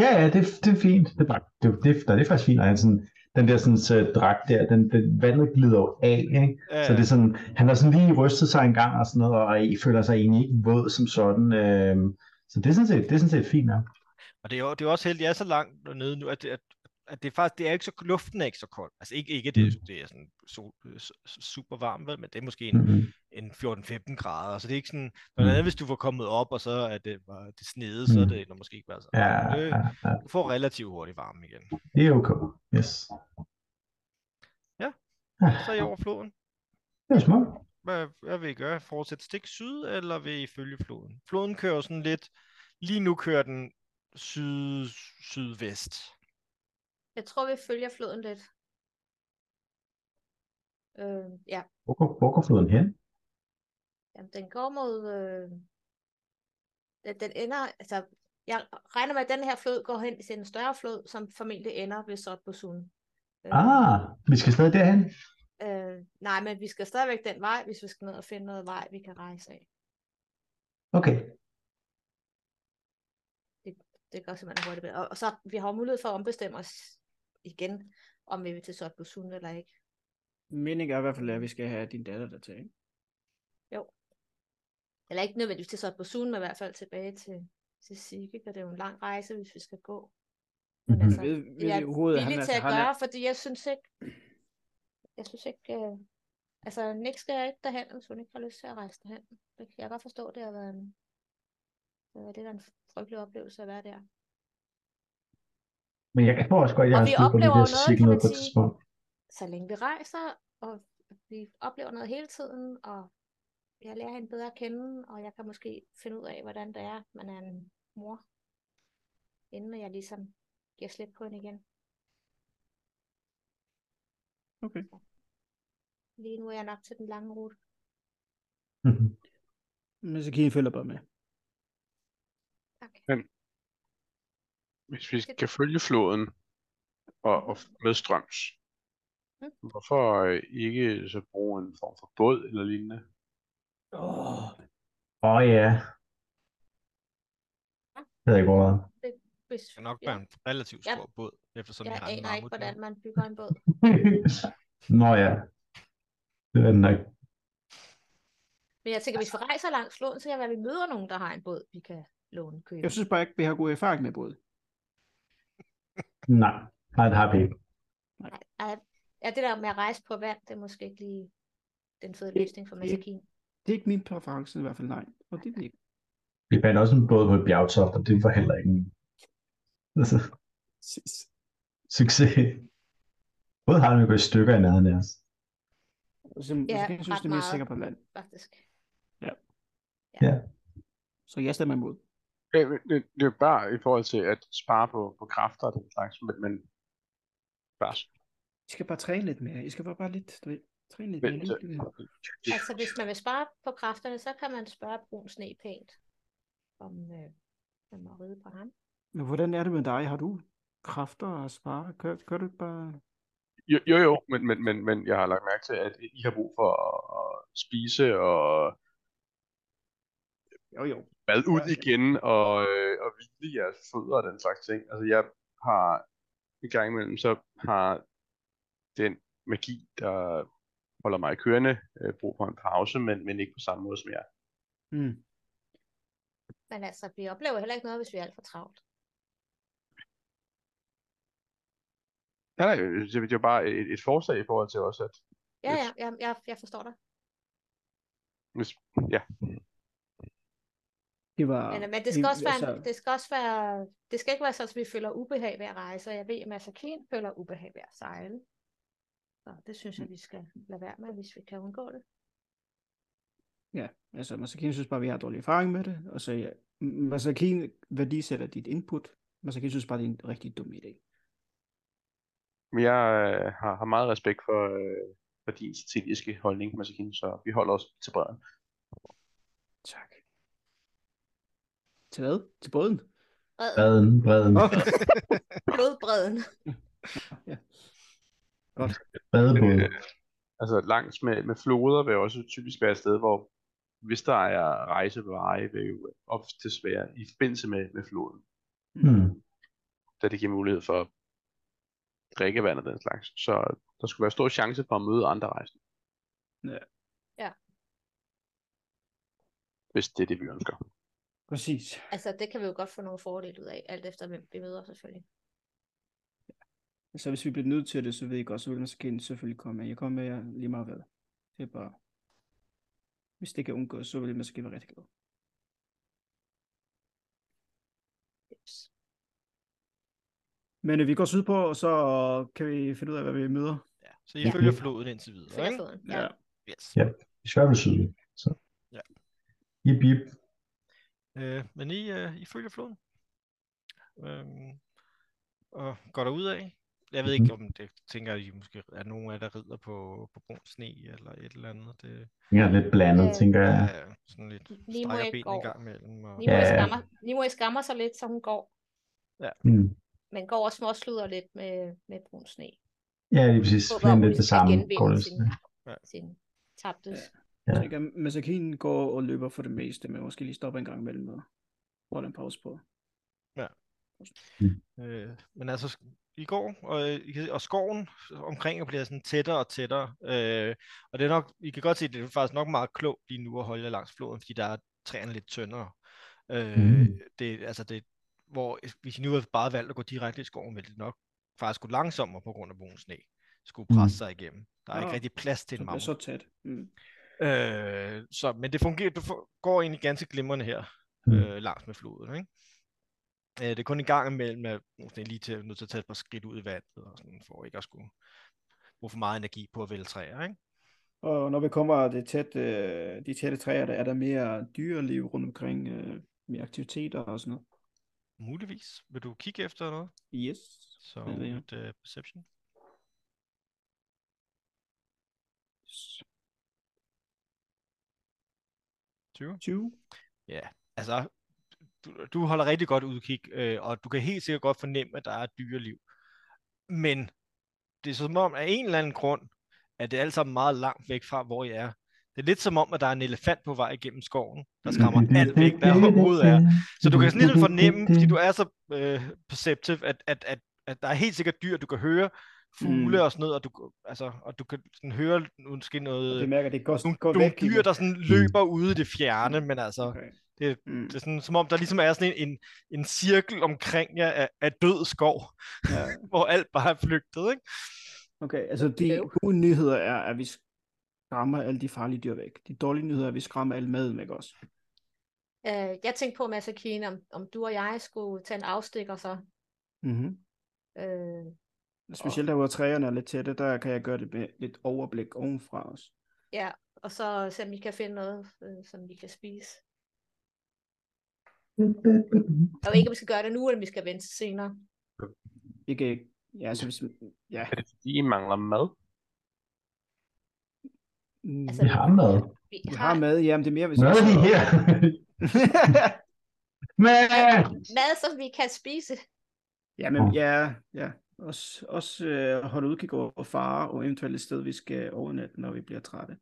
Speaker 2: Ja, ja, det, det er fint. Det, er- det, det, det, det er faktisk fint. Og han sådan, den der sådan, så dragt der, den, den, vandet glider jo af, ikke? Så det er sådan, han har sådan lige rystet sig en gang og sådan noget, og I føler sig egentlig ikke våd som sådan. Øh, så det er sådan set, det er sådan set fint nok.
Speaker 3: Og det er jo det er også heldigt, at jeg er så langt nede nu, at, at, at det er faktisk, det er ikke så, luften er ikke så kold. Altså ikke, ikke at det, det er sådan sol, øh, s- s- super varmt, vel, men det er måske en,
Speaker 2: Mm-hmm.
Speaker 3: en 14-15 grader, så det er ikke sådan, noget andet, hvis du var kommet op, og så er det, var det snede, så er
Speaker 2: Mm.
Speaker 3: det nok måske ikke været så.
Speaker 2: Ja,
Speaker 3: Men det-
Speaker 2: ja, ja,
Speaker 3: Du får relativt hurtigt varme igen.
Speaker 2: det er okay. Yes.
Speaker 3: Ja.
Speaker 2: Ja,
Speaker 3: Så er I over floden.
Speaker 2: Det er smukt.
Speaker 3: Hvad, hvad vil I gøre? Fortsæt stik syd, eller vil I følge floden? Floden kører jo sådan lidt, lige nu kører den syd, sydvest.
Speaker 1: Jeg tror, vi følger floden lidt. Øh, ja,
Speaker 2: Hvor går, hvor går floden hen?
Speaker 1: Jamen, den går mod... Øh... Den, den ender... Altså, jeg regner med, at den her flod går hen til en større flod, som formentlig ender ved Sotbosun. Øh,
Speaker 2: Ah, vi skal stadig derhen.
Speaker 1: øh, nej, men vi skal stadigvæk den vej, hvis vi skal ned og finde noget vej, vi kan rejse af.
Speaker 2: Okay.
Speaker 1: Det går simpelthen hurtigt. Og, og så vi har jo mulighed for at ombestemme os igen, om vi vil til Sotbosun eller ikke.
Speaker 4: Meningen er i hvert fald, at vi skal have din datter der til, ikke?
Speaker 1: Eller ikke nødvendigvis til Sotbosun, men i hvert fald tilbage til, til Sigge, for det er jo en lang rejse, hvis vi skal gå. Men
Speaker 2: Mhm.
Speaker 1: altså,
Speaker 4: Ved, ved
Speaker 1: jeg
Speaker 4: I overhovedet, at
Speaker 1: villig
Speaker 4: er-
Speaker 1: til at
Speaker 4: han er-
Speaker 1: gøre, fordi jeg synes ikke, jeg synes ikke, øh, altså Nick skal ikke derhen, hvis hun ikke har lyst til at rejse derhen. Det kan jeg godt forstå, det har været en, det har været lidt af en frygtelig oplevelse at være der.
Speaker 2: Men jeg tror også godt, jeg
Speaker 1: Og
Speaker 2: har
Speaker 1: vi
Speaker 2: styr på
Speaker 1: oplever
Speaker 2: det der
Speaker 1: jo noget,
Speaker 2: cirkel
Speaker 1: kan
Speaker 2: noget
Speaker 1: man
Speaker 2: på et
Speaker 1: sige.
Speaker 2: tidspunkt.
Speaker 1: Så længe vi rejser, og vi oplever noget hele tiden, og jeg lærer hende bedre at kende, og jeg kan måske finde ud af, hvordan det er, man er en mor, inden jeg ligesom giver slip på hende igen.
Speaker 4: Okay.
Speaker 1: Lige nu er jeg nok til den lange rute.
Speaker 2: Mhm.
Speaker 4: Men så kan I følge bare med.
Speaker 1: Okay.
Speaker 5: Hvis vi skal følge floden og, og med strøms,
Speaker 1: Mm.
Speaker 5: hvorfor øh, ikke så bruge en form for båd eller lignende?
Speaker 4: Åh,
Speaker 2: Åh oh, ja. Det havde jeg ikke overvejet.
Speaker 1: Hvis,
Speaker 3: Det kan nok
Speaker 1: ja.
Speaker 3: være en relativt
Speaker 1: Ja.
Speaker 3: stor båd, eftersom vi
Speaker 1: Jeg
Speaker 3: har en
Speaker 1: aner ikke,
Speaker 3: mammut. nu.
Speaker 1: hvordan man bygger en båd.
Speaker 2: Nå ja. Det er den nok.
Speaker 1: Men jeg tænker, hvis vi rejser langs floden, så kan jeg være, at vi møder nogen, der har en båd, vi kan låne købe.
Speaker 4: Jeg synes bare ikke, vi har god erfaring med både.
Speaker 2: Nej, nej, det har vi ikke.
Speaker 1: Ej, Ja, det der med at rejse på vand, det er måske ikke lige den fede
Speaker 4: Ikke-
Speaker 1: løsning for Masakin.
Speaker 4: Det er ikke min præference i hvert fald, nej. Og det er den ikke.
Speaker 2: Vi fandt også en båd på et bjergtoft, og det var heller ikke en altså,
Speaker 4: Præcis.
Speaker 2: succes. Både har den gået i stykker i nærheden af os.
Speaker 4: Så, ja, jeg synes,
Speaker 1: ret
Speaker 4: det er mest
Speaker 1: meget.
Speaker 4: sikkert på land.
Speaker 1: faktisk.
Speaker 4: Så jeg stemmer imod.
Speaker 5: Det, det, det er bare i forhold til at spare på, på kræfter og den slags, men, men bare
Speaker 4: I skal bare træne lidt mere. I skal bare, bare lidt, du ved, træne lidt
Speaker 5: Men
Speaker 4: mere.
Speaker 5: så-
Speaker 4: Lidt, lidt. mere.
Speaker 1: Altså, hvis man vil spare på kræfterne, så kan man spørge Brun Sne pænt, om øh, man må ride på ham.
Speaker 4: Men hvordan er det med dig? Har du kræfter at spare? Kør, kør du ikke bare...
Speaker 5: Jo, jo, jo men, men, men, men jeg har lagt mærke til, at I har brug for at, at spise og
Speaker 4: Jo, jo.
Speaker 5: mad ud
Speaker 4: Ja.
Speaker 5: igen og, øh, og hvile jeres fødder og den slags ting. Altså jeg har en gang imellem, så har den magi, der holder mig kørende, øh, brug for en pause, men, men ikke på samme måde som jeg.
Speaker 4: Mm.
Speaker 1: Men altså, vi oplever heller ikke noget, hvis vi er alt for travlt.
Speaker 5: Nej, nej, Øh, det det er jo bare et, et forslag i forhold til også, at
Speaker 1: Ja,
Speaker 5: Yes.
Speaker 1: ja, jeg, jeg, jeg forstår dig.
Speaker 5: hvis,
Speaker 4: Det var...
Speaker 1: Men, men det skal også være,
Speaker 4: altså-
Speaker 1: en- det skal også være, det skal ikke være sådan, at vi føler ubehag ved at rejse, og jeg ved, at Massakin føler ubehag ved at sejle. Så det synes jeg, vi skal lade være med, hvis vi kan undgå det.
Speaker 4: Ja, altså Masakine synes bare, vi har dårlig erfaring med det, og så ja, Masakine værdisætter dit input. Masakine synes bare, det er en rigtig dum idé.
Speaker 5: men jeg øh, har, har meget respekt for, øh, for din strategiske holdning, Masakine, så vi holder os til bredden.
Speaker 4: Tak. Til hvad? Til båden?
Speaker 1: Bred,
Speaker 2: Breden, breden,
Speaker 4: Åh,
Speaker 1: blodbredden.
Speaker 2: bredebåd.
Speaker 5: Øh, altså langs med, med floder vil også typisk være et sted, hvor hvis der er rejseveje, vil jo oftest være i forbindelse med, med floden,
Speaker 2: Hmm.
Speaker 5: da det giver mulighed for drikkevand og den slags. Så der skulle være stor chance for at møde andre rejsende.
Speaker 4: Ja.
Speaker 1: Ja.
Speaker 5: Hvis det er det, vi ønsker.
Speaker 4: præcis.
Speaker 1: Altså, det kan vi jo godt få nogle fordele ud af, alt efter hvem vi møder selvfølgelig.
Speaker 4: Så hvis vi bliver nødt til det, så ved jeg godt, så vil Masakine selvfølgelig komme med. Jeg kommer med jer lige meget hvad. Det er bare... Hvis det kan undgås, så vil Masakine være rigtig glad.
Speaker 1: Yes.
Speaker 4: Men øh, vi går sydpå, og så kan vi finde ud af, hvad vi møder.
Speaker 3: Ja. Så I
Speaker 1: Ja.
Speaker 3: følger floden indtil videre,
Speaker 1: Følger
Speaker 3: ikke?
Speaker 1: foden. Ja.
Speaker 3: Yes.
Speaker 2: Vi skal vel sydligt. Så.
Speaker 3: Ja.
Speaker 2: Jip, jip.
Speaker 3: Øh, men I, øh, I følger floden. Øhm, og går der af. Jeg ved ikke, om det tænker, I måske er nogen af jer, der rider på, på brun sne eller et eller andet. Det
Speaker 2: Jeg er lidt blandet,
Speaker 1: Øh,
Speaker 2: tænker jeg.
Speaker 3: er sådan lidt
Speaker 1: Nimoy
Speaker 3: strækker benene
Speaker 1: går.
Speaker 3: en gang imellem. Og...
Speaker 1: Nimue,
Speaker 2: Ja.
Speaker 1: skammer, Nimue skammer sig lidt, så hun går,
Speaker 2: Mm.
Speaker 1: men går og småsluder lidt med, med brun sne.
Speaker 2: Ja, det er præcis.
Speaker 1: Håber,
Speaker 2: Find
Speaker 1: hun
Speaker 2: lidt det
Speaker 1: skal
Speaker 2: samme.
Speaker 1: genvinde
Speaker 2: Går det.
Speaker 1: sin, sin tabte
Speaker 4: Ja.
Speaker 2: Ja.
Speaker 4: Ja. Tænker, Masakine går og løber for det meste, men måske lige stopper en gang imellem og holder en pause på.
Speaker 3: Øh, men altså, sk- i går, og, øh, I kan se- og skoven omkring jer bliver sådan tættere og tættere. Øh, og det er nok, I kan godt se, at det er faktisk nok meget klogt lige nu at holde jer langs floden, fordi der er træerne lidt tyndere. Øh,
Speaker 2: Mm.
Speaker 3: det, altså det, hvor øh, hvis I nu havde bare valgt at gå direkte i skoven, ville det nok faktisk gå langsommere på grund af brun sne skulle
Speaker 2: Mm.
Speaker 3: presse sig igennem. Der er
Speaker 4: Nå,
Speaker 3: ikke rigtig plads til
Speaker 4: Så
Speaker 3: en
Speaker 4: det er
Speaker 3: mammut.
Speaker 4: så tæt. Mm.
Speaker 3: Øh, så, men det fungerer, du får, går egentlig ganske glimrende her,
Speaker 2: Mm.
Speaker 3: øh, langs med floden, ikke? Øh, det er kun en gang imellem, at måske lige til, nødt til at tage et par skridt ud i vandet, og sådan, for ikke at skulle bruge for meget energi på at vælge træer, ikke?
Speaker 4: Og når vi kommer det tæt, øh, de tætte træer, der er der mere dyreliv rundt omkring, øh, mere aktiviteter og sådan noget.
Speaker 3: Muligvis. Vil du kigge efter noget?
Speaker 4: Yes.
Speaker 3: Så
Speaker 4: ved jeg.
Speaker 3: et øh, perception.
Speaker 4: yes.
Speaker 3: 20.
Speaker 4: 20.
Speaker 3: Ja, altså, du, du holder rigtig godt udkig, øh, og du kan helt sikkert godt fornemme, at der er dyreliv. Men det er som om, af en eller anden grund, at det er alt sammen meget langt væk fra, hvor jeg er. Det er lidt som om, at der er en elefant på vej igennem skoven, der skræmmer alt væk, der overhovedet er. Så du kan sådan ligesom fornemme, fordi du er så øh, perceptive, at, at, at, at der er helt sikkert dyr, du kan høre, fugle
Speaker 4: Mm.
Speaker 3: og sådan noget, og du, altså, og du kan sådan høre måske noget,
Speaker 4: Det mærker, det går,
Speaker 3: Øh, nogle,
Speaker 4: går
Speaker 3: nogle
Speaker 4: væk.
Speaker 3: dyr,
Speaker 4: igen.
Speaker 3: der sådan løber ude i det fjerne, men altså,
Speaker 4: Okay.
Speaker 3: det-
Speaker 4: mm.
Speaker 3: det er sådan, som om der ligesom er sådan en, en, en cirkel omkring jer af, af død skov,
Speaker 4: ja.
Speaker 3: hvor alt bare er flygtet, ikke?
Speaker 4: Okay, altså de
Speaker 1: Øv.
Speaker 4: gode nyheder er, at vi skræmmer alle de farlige dyr væk. De dårlige nyheder er, at vi skræmmer alle maden væk også.
Speaker 1: Øh, jeg tænkte på, Mads Kine, om, om du og jeg skulle tage en afstikker så.
Speaker 3: Mhm.
Speaker 4: Mm-hmm.
Speaker 1: Øh,
Speaker 4: Specielt der, hvor træerne er lidt tætte, der kan jeg gøre det med lidt overblik ovenfra os.
Speaker 1: ja, og så se om vi kan finde noget, øh, som vi kan spise. Og ikke, om vi skal gøre det nu, eller om vi skal vente til senere.
Speaker 4: Ikke, ja, så hvis, ja,
Speaker 5: Er det fordi, I mangler mad?
Speaker 4: mm,
Speaker 1: Altså,
Speaker 2: Vi har mad.
Speaker 1: Vi
Speaker 4: vi
Speaker 1: har
Speaker 4: har mad, jamen det er mere, hvis
Speaker 2: Hvad er det her? Men...
Speaker 1: mad, som vi kan spise.
Speaker 4: Jamen, ja, ja. Også, også øh, holde udkig over fare og eventuelt et sted, vi skal overnatte, når vi bliver trætte.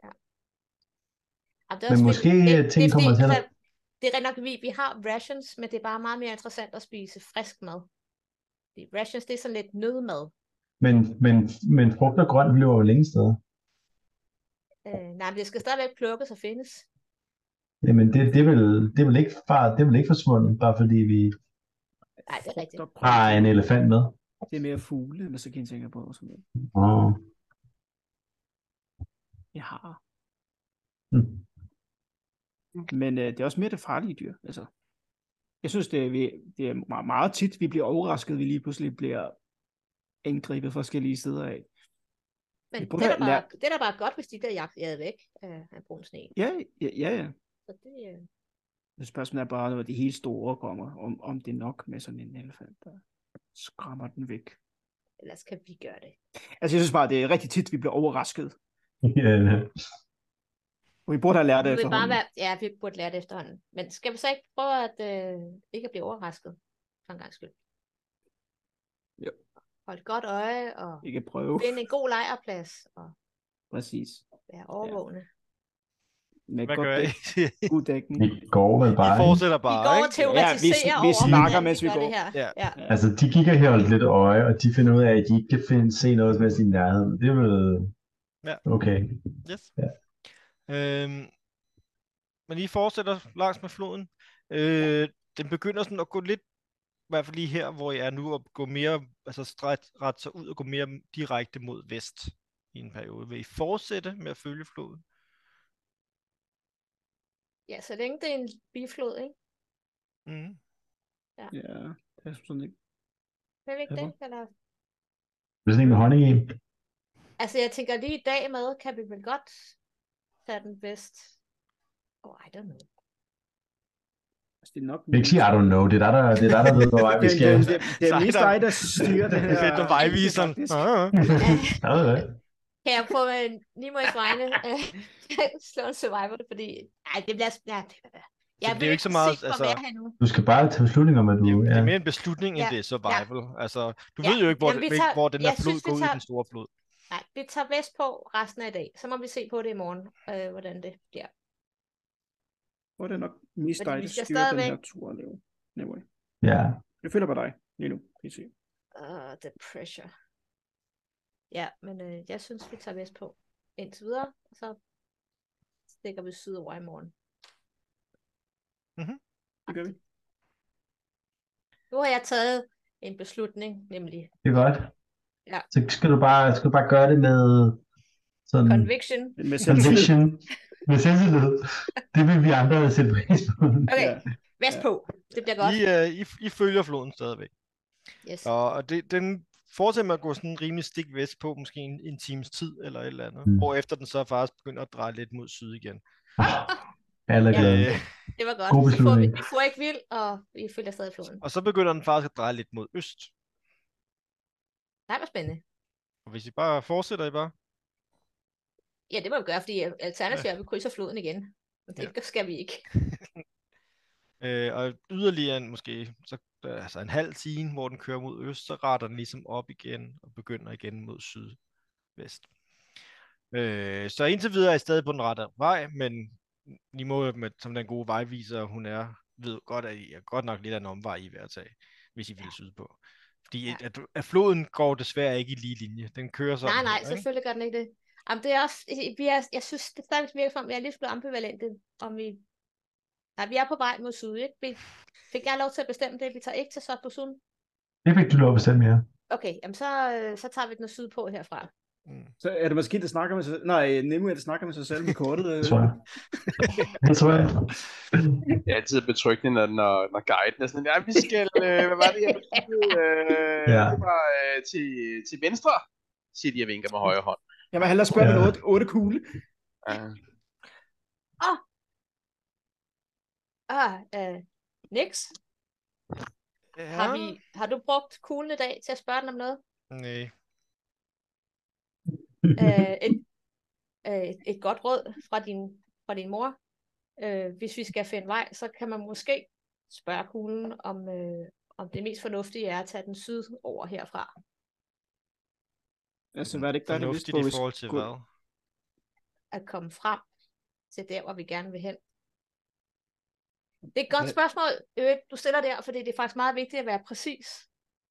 Speaker 1: Jamen, det er
Speaker 2: Men
Speaker 1: også vildt.
Speaker 2: måske,
Speaker 1: det,
Speaker 2: øh, ting
Speaker 1: det er
Speaker 2: kommer
Speaker 1: fordi,
Speaker 2: til at-
Speaker 1: så- Det er rigtig nok, vi, vi har rations, men det er bare meget mere interessant at spise frisk mad. Fordi rations, det er sådan lidt nødmad.
Speaker 2: Men, men, men frugt og grønt løber jo længe steder.
Speaker 1: Øh, nej, men det skal stadigvæk plukkes og findes.
Speaker 2: Jamen, det, det, vil, det, vil ikke, bare, det vil ikke forsvunde, bare fordi vi
Speaker 1: Nej, det er rigtigt.
Speaker 4: Frugt og
Speaker 2: har
Speaker 4: grønt.
Speaker 2: en elefant med.
Speaker 4: Det er mere fugle, men så kan jeg tænke på, som
Speaker 2: Oh.
Speaker 4: jeg har.
Speaker 1: Mm.
Speaker 4: Men øh, det er også mere det farlige dyr. Altså, jeg synes, det er, vi, det er meget, meget tit, vi bliver overrasket, vi lige pludselig bliver angrebet forskellige sider af.
Speaker 1: Men
Speaker 4: Vi
Speaker 1: det
Speaker 4: burde
Speaker 1: er, da
Speaker 4: have
Speaker 1: bare,
Speaker 4: lært-
Speaker 1: det er da bare godt, hvis de der jagt jagede væk øh, af brun sne.
Speaker 4: Ja, ja, ja. ja.
Speaker 1: Så det, øh,
Speaker 4: Men Spørgsmålet er bare, når de helt store kommer, om, om det er nok med sådan en elefant, der skræmmer den væk.
Speaker 1: ellers kan vi gøre det.
Speaker 4: Altså, jeg synes bare, det er rigtig tit, vi bliver overrasket.
Speaker 2: ja.
Speaker 4: Og vi burde have lært det
Speaker 1: Vi vil bare
Speaker 4: efterhånden.
Speaker 1: være, ja, vi burde lære det efterhånden. Men skal vi så ikke prøve at øh, ikke at blive overrasket? For en gang skyld.
Speaker 4: Jo.
Speaker 1: Hold godt øje, og
Speaker 4: Ikke prøve.
Speaker 1: finde en god lejrplads, og
Speaker 4: Præcis.
Speaker 1: være overvågne.
Speaker 4: Med
Speaker 3: Hvad
Speaker 4: godt
Speaker 3: gør I?
Speaker 4: dæk, god dækning.
Speaker 2: Vi går vel
Speaker 3: I
Speaker 2: bare. ikke?
Speaker 3: fortsætter
Speaker 1: Vi
Speaker 3: bare,
Speaker 1: går og
Speaker 3: ikke?
Speaker 1: teoretiserer
Speaker 4: Ja, vi- vi
Speaker 1: over,
Speaker 4: snakker,
Speaker 1: hvordan
Speaker 4: mens vi
Speaker 1: gør
Speaker 4: går.
Speaker 1: Det her.
Speaker 3: Ja.
Speaker 1: ja.
Speaker 2: Altså, de kigger her holdt lidt øje, og de finder ud af, at de ikke kan finde, se noget som helst i nærheden. Det er vel...
Speaker 3: Ja.
Speaker 2: Okay.
Speaker 3: Yes.
Speaker 2: Ja.
Speaker 3: Øhm, men I fortsætter langs med floden. Øh, den begynder sådan at gå lidt, i hvert fald lige her, hvor jeg er nu, at gå mere, altså stræt, ret sig ud og gå mere direkte mod vest i en periode. Vil I fortsætte med at følge floden?
Speaker 1: ja, så længe det er en biflod, ikke?
Speaker 3: Mm.
Speaker 4: Ja, det er sådan ikke.
Speaker 1: Er det ikke
Speaker 4: Ja,
Speaker 1: det? Eller...
Speaker 2: Det er sådan en med honning i.
Speaker 1: Altså, jeg tænker lige i dag med, kan vi vel godt tage den vest. Oh, I don't know.
Speaker 4: Altså, det er nok.
Speaker 2: Vi kan ikke sige, I don't know. Det er der, der, det er der, der ved, hvor vej vi
Speaker 4: Det,
Speaker 2: skal.
Speaker 4: det, det, det er
Speaker 3: Sejt,
Speaker 4: mest
Speaker 3: der-
Speaker 4: dig, der styrer det her.
Speaker 3: Fedt, der vejviseren.
Speaker 4: faktisk.
Speaker 3: Ah, ah.
Speaker 2: Ja, det er det.
Speaker 1: Kan jeg få en Nimoys vegne øh, slå en survivor, fordi... Nej, det bliver... Ja, det bliver...
Speaker 3: det
Speaker 1: Jeg
Speaker 3: er
Speaker 1: vil
Speaker 3: jo ikke så meget,
Speaker 1: se, hvor
Speaker 3: altså-
Speaker 1: mere her nu.
Speaker 2: Du skal bare tage beslutninger om, at du...
Speaker 3: Det, er- det
Speaker 2: ja.
Speaker 3: er mere en beslutning, end
Speaker 1: Ja,
Speaker 3: det er survival. Altså, du
Speaker 1: Ja,
Speaker 3: ved jo ikke, hvor,
Speaker 1: jamen, vi
Speaker 3: hvil-
Speaker 1: tager-
Speaker 3: hvor den her
Speaker 1: jeg
Speaker 3: flod
Speaker 1: synes, vi
Speaker 3: går ud i
Speaker 1: tager-
Speaker 3: den store flod.
Speaker 1: Nej, vi tager vest på resten af i dag. Så må vi se på det i morgen, øh, hvordan det bliver.
Speaker 4: Hvor er det nok mest
Speaker 1: Fordi
Speaker 4: dig,
Speaker 1: vi
Speaker 4: der
Speaker 1: skal
Speaker 4: styrer den
Speaker 1: stadigvæk-
Speaker 4: her tur, Leo. Anyway.
Speaker 2: ja.
Speaker 4: Jeg føler bare dig lige nu, PC.
Speaker 1: Uh, the pressure. Ja, men øh, jeg synes, vi tager vest på indtil videre, og så stikker vi sydover i morgen.
Speaker 4: Det gør vi.
Speaker 1: Nu har jeg taget en beslutning, nemlig
Speaker 2: Det er godt.
Speaker 1: Ja.
Speaker 2: Så skal du bare, skal du bare gøre det med sådan
Speaker 1: conviction.
Speaker 4: Men med selvtillid.
Speaker 2: conviction. med selvtillid. Det vil vi andre sætte pris på.
Speaker 1: Okay,
Speaker 4: Ja.
Speaker 1: vest
Speaker 4: Ja.
Speaker 1: på. Det bliver godt.
Speaker 3: I, øh, I, I følger floden stadigvæk.
Speaker 1: Yes.
Speaker 3: Og, og det, den fortsætter med at gå sådan rimelig stik vest på, måske en, en times tid eller et eller andet.
Speaker 2: Mm.
Speaker 3: Mm. efter den så faktisk begynder at dreje lidt mod syd igen.
Speaker 2: Alle er glade.
Speaker 3: Øh,
Speaker 1: Det var godt.
Speaker 2: god
Speaker 1: Vi får,
Speaker 2: beslutning.
Speaker 1: vi får ikke vild, og vi følger stadig floden.
Speaker 3: og så begynder den faktisk at dreje lidt mod øst.
Speaker 1: Nej, hvor spændende.
Speaker 3: Og hvis I bare fortsætter, I bare...
Speaker 1: Ja, det må vi gøre, fordi alternativt er, at vi krydser floden igen. Og det skal vi ikke.
Speaker 3: Øh, og yderligere en, måske så, øh, altså en halv time, hvor den kører mod øst, så retter den ligesom op igen og begynder igen mod sydvest. Øh, så indtil videre er I stadig på den rette vej, men Nimo, med, som den gode vejviser hun er, ved godt, at I er godt nok lidt af en omvej, I er ved at tage, hvis I vil sydpå. Fordi
Speaker 1: Ja.
Speaker 3: ja. at, at floden går desværre ikke i lige linje. Den kører sådan.
Speaker 1: Nej, nej,
Speaker 3: her, ikke?
Speaker 1: selvfølgelig gør den ikke det. Jamen, det er også, vi er, jeg synes, det stadigvæk virker som, om, jeg er lidt blevet ambivalente, om vi... Nej, vi er på vej mod syd, ikke? Vi, fik jeg lov til at bestemme det? Vi tager ikke til Sot på syd.
Speaker 2: Det fik du lov at bestemme, ja.
Speaker 1: Okay, jamen så, øh, så tager vi den syd på herfra.
Speaker 3: Mm.
Speaker 4: Så er det måske, der snakker med sig selv? Nej, Nemo er det snakker med sig selv med kortet. øh.
Speaker 2: det tror jeg. Det tror jeg.
Speaker 5: Det er altid betryggende, når, når, når guiden er sådan, ja, vi skal, øh, hvad var det, jeg besluttede? Øh,
Speaker 2: Ja.
Speaker 5: Det var øh, til, til venstre, siger de, jeg vinker med højre hånd.
Speaker 4: Jeg vil hellere spørge
Speaker 2: Ja.
Speaker 4: med 8, 8 kugle.
Speaker 5: Uh,
Speaker 1: Ah, øh, Nix,
Speaker 3: Ja.
Speaker 1: har, vi, har du brugt kuglen i dag til at spørge den om noget?
Speaker 3: Nej.
Speaker 1: øh, et, øh, et godt råd fra din, fra din mor. Øh, hvis vi skal finde vej, så kan man måske spørge kuglen, om, øh, om det mest fornuftige er at tage den syd over herfra.
Speaker 4: Altså, hvad er det ikke, der er det
Speaker 3: Fornuftigt i forhold til
Speaker 4: skulle-
Speaker 3: hvad?
Speaker 1: At komme frem til der, hvor vi gerne vil hen. Det er et godt
Speaker 4: Hvad-
Speaker 1: spørgsmål, øh, du stiller der, fordi det er faktisk meget vigtigt at være præcis,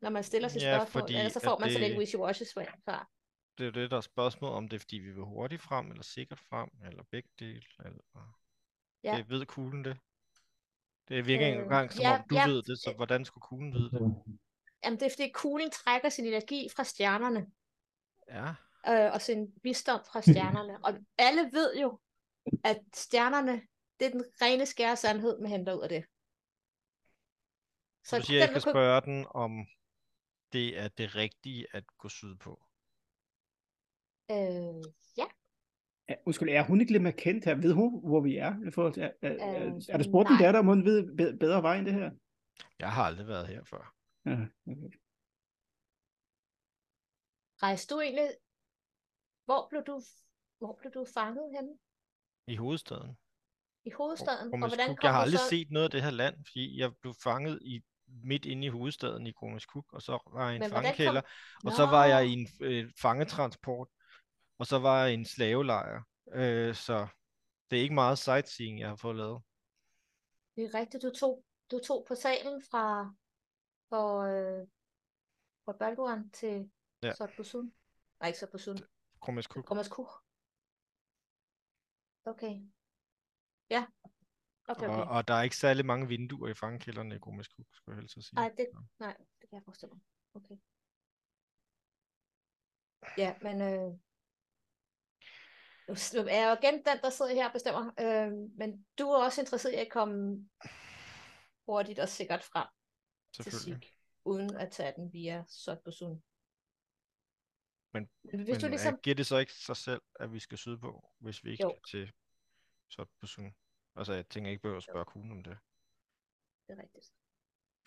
Speaker 1: når man stiller sit
Speaker 3: Ja,
Speaker 1: spørgsmål.
Speaker 3: fordi
Speaker 1: Ellers så
Speaker 3: at
Speaker 1: får man det...
Speaker 3: det-
Speaker 1: sådan et wishy-washy svar. svar.
Speaker 3: Det er jo det, der er spørgsmålet, om det er, fordi vi vil hurtigt frem, eller sikkert frem, eller begge dele, eller...
Speaker 1: Ja.
Speaker 3: Det ved kuglen det. Det virker ikke
Speaker 1: Øh,
Speaker 3: engang, som
Speaker 1: ja,
Speaker 3: om du
Speaker 1: ja.
Speaker 3: ved det, så hvordan skulle kuglen vide det?
Speaker 1: Jamen det er fordi kuglen trækker sin energi fra stjernerne.
Speaker 3: Ja.
Speaker 1: øh, og sin visdom fra stjernerne. Og alle ved jo, at stjernerne, det er den rene skære sandhed, man henter ud af det.
Speaker 3: Så du siger, jeg kan spørge den, om det er det rigtige at gå syd på.
Speaker 1: Øh, ja,
Speaker 4: Ja, undskyld, er hun ikke lidt mere kendt her? Ved hun, hvor vi er? I forhold til, er, er,
Speaker 1: Øh,
Speaker 4: er, er der spurgt en
Speaker 1: nej.
Speaker 4: datter, om hun ved be- bedre vej end det her?
Speaker 3: Jeg har aldrig været her før.
Speaker 4: Ja, okay.
Speaker 1: rejste du egentlig... Hvor blev du, hvor blev du fanget henne?
Speaker 3: I hovedstaden.
Speaker 1: I hovedstaden?
Speaker 3: Kronos
Speaker 1: hvordan
Speaker 3: Cook. Jeg har
Speaker 1: du
Speaker 3: aldrig
Speaker 1: så...
Speaker 3: set noget af det her land, fordi jeg blev fanget i midt inde i hovedstaden i Kronos Cook, og så var jeg i en
Speaker 1: Men hvordan kom-
Speaker 3: fangekælder, og så var jeg
Speaker 1: Nå.
Speaker 3: i en øh, fangetransport, og så var jeg i en slavelejr. Øh, så det er ikke meget sightseeing, jeg har fået lavet.
Speaker 1: Det er rigtigt, du tog, du tog på salen fra, fra, øh, fra Balduran til
Speaker 3: Ja.
Speaker 1: ja. Sotbusun. Nej, ikke Sotbusun.
Speaker 3: Kronos Cook.
Speaker 1: Thomas Kuch. Okay. Ja. Okay,
Speaker 3: Og,
Speaker 1: okay.
Speaker 3: og der er ikke særlig mange vinduer i fangekælderne i Kronos Cook, skulle jeg helst sige.
Speaker 1: Nej, det, nej, det kan jeg forestille mig. Okay. Ja, men øh, nu s- nu er jeg jo igen den, der sidder her og bestemmer. Øh, men du er også interesseret i at komme hurtigt og sikkert frem til
Speaker 3: Selvfølgelig.
Speaker 1: Sik, uden at tage den via Sotbusun.
Speaker 3: Men-
Speaker 1: men hvis
Speaker 3: Hvis
Speaker 1: men, du
Speaker 3: Men
Speaker 1: ligesom...
Speaker 3: ligesom... giver det så ikke sig selv, at vi skal syd på, hvis vi ikke
Speaker 1: Jo.
Speaker 3: jo. skal til Sotbusun? Altså, jeg tænker jeg ikke behøver at spørge kuglen om det.
Speaker 1: Det er rigtigt.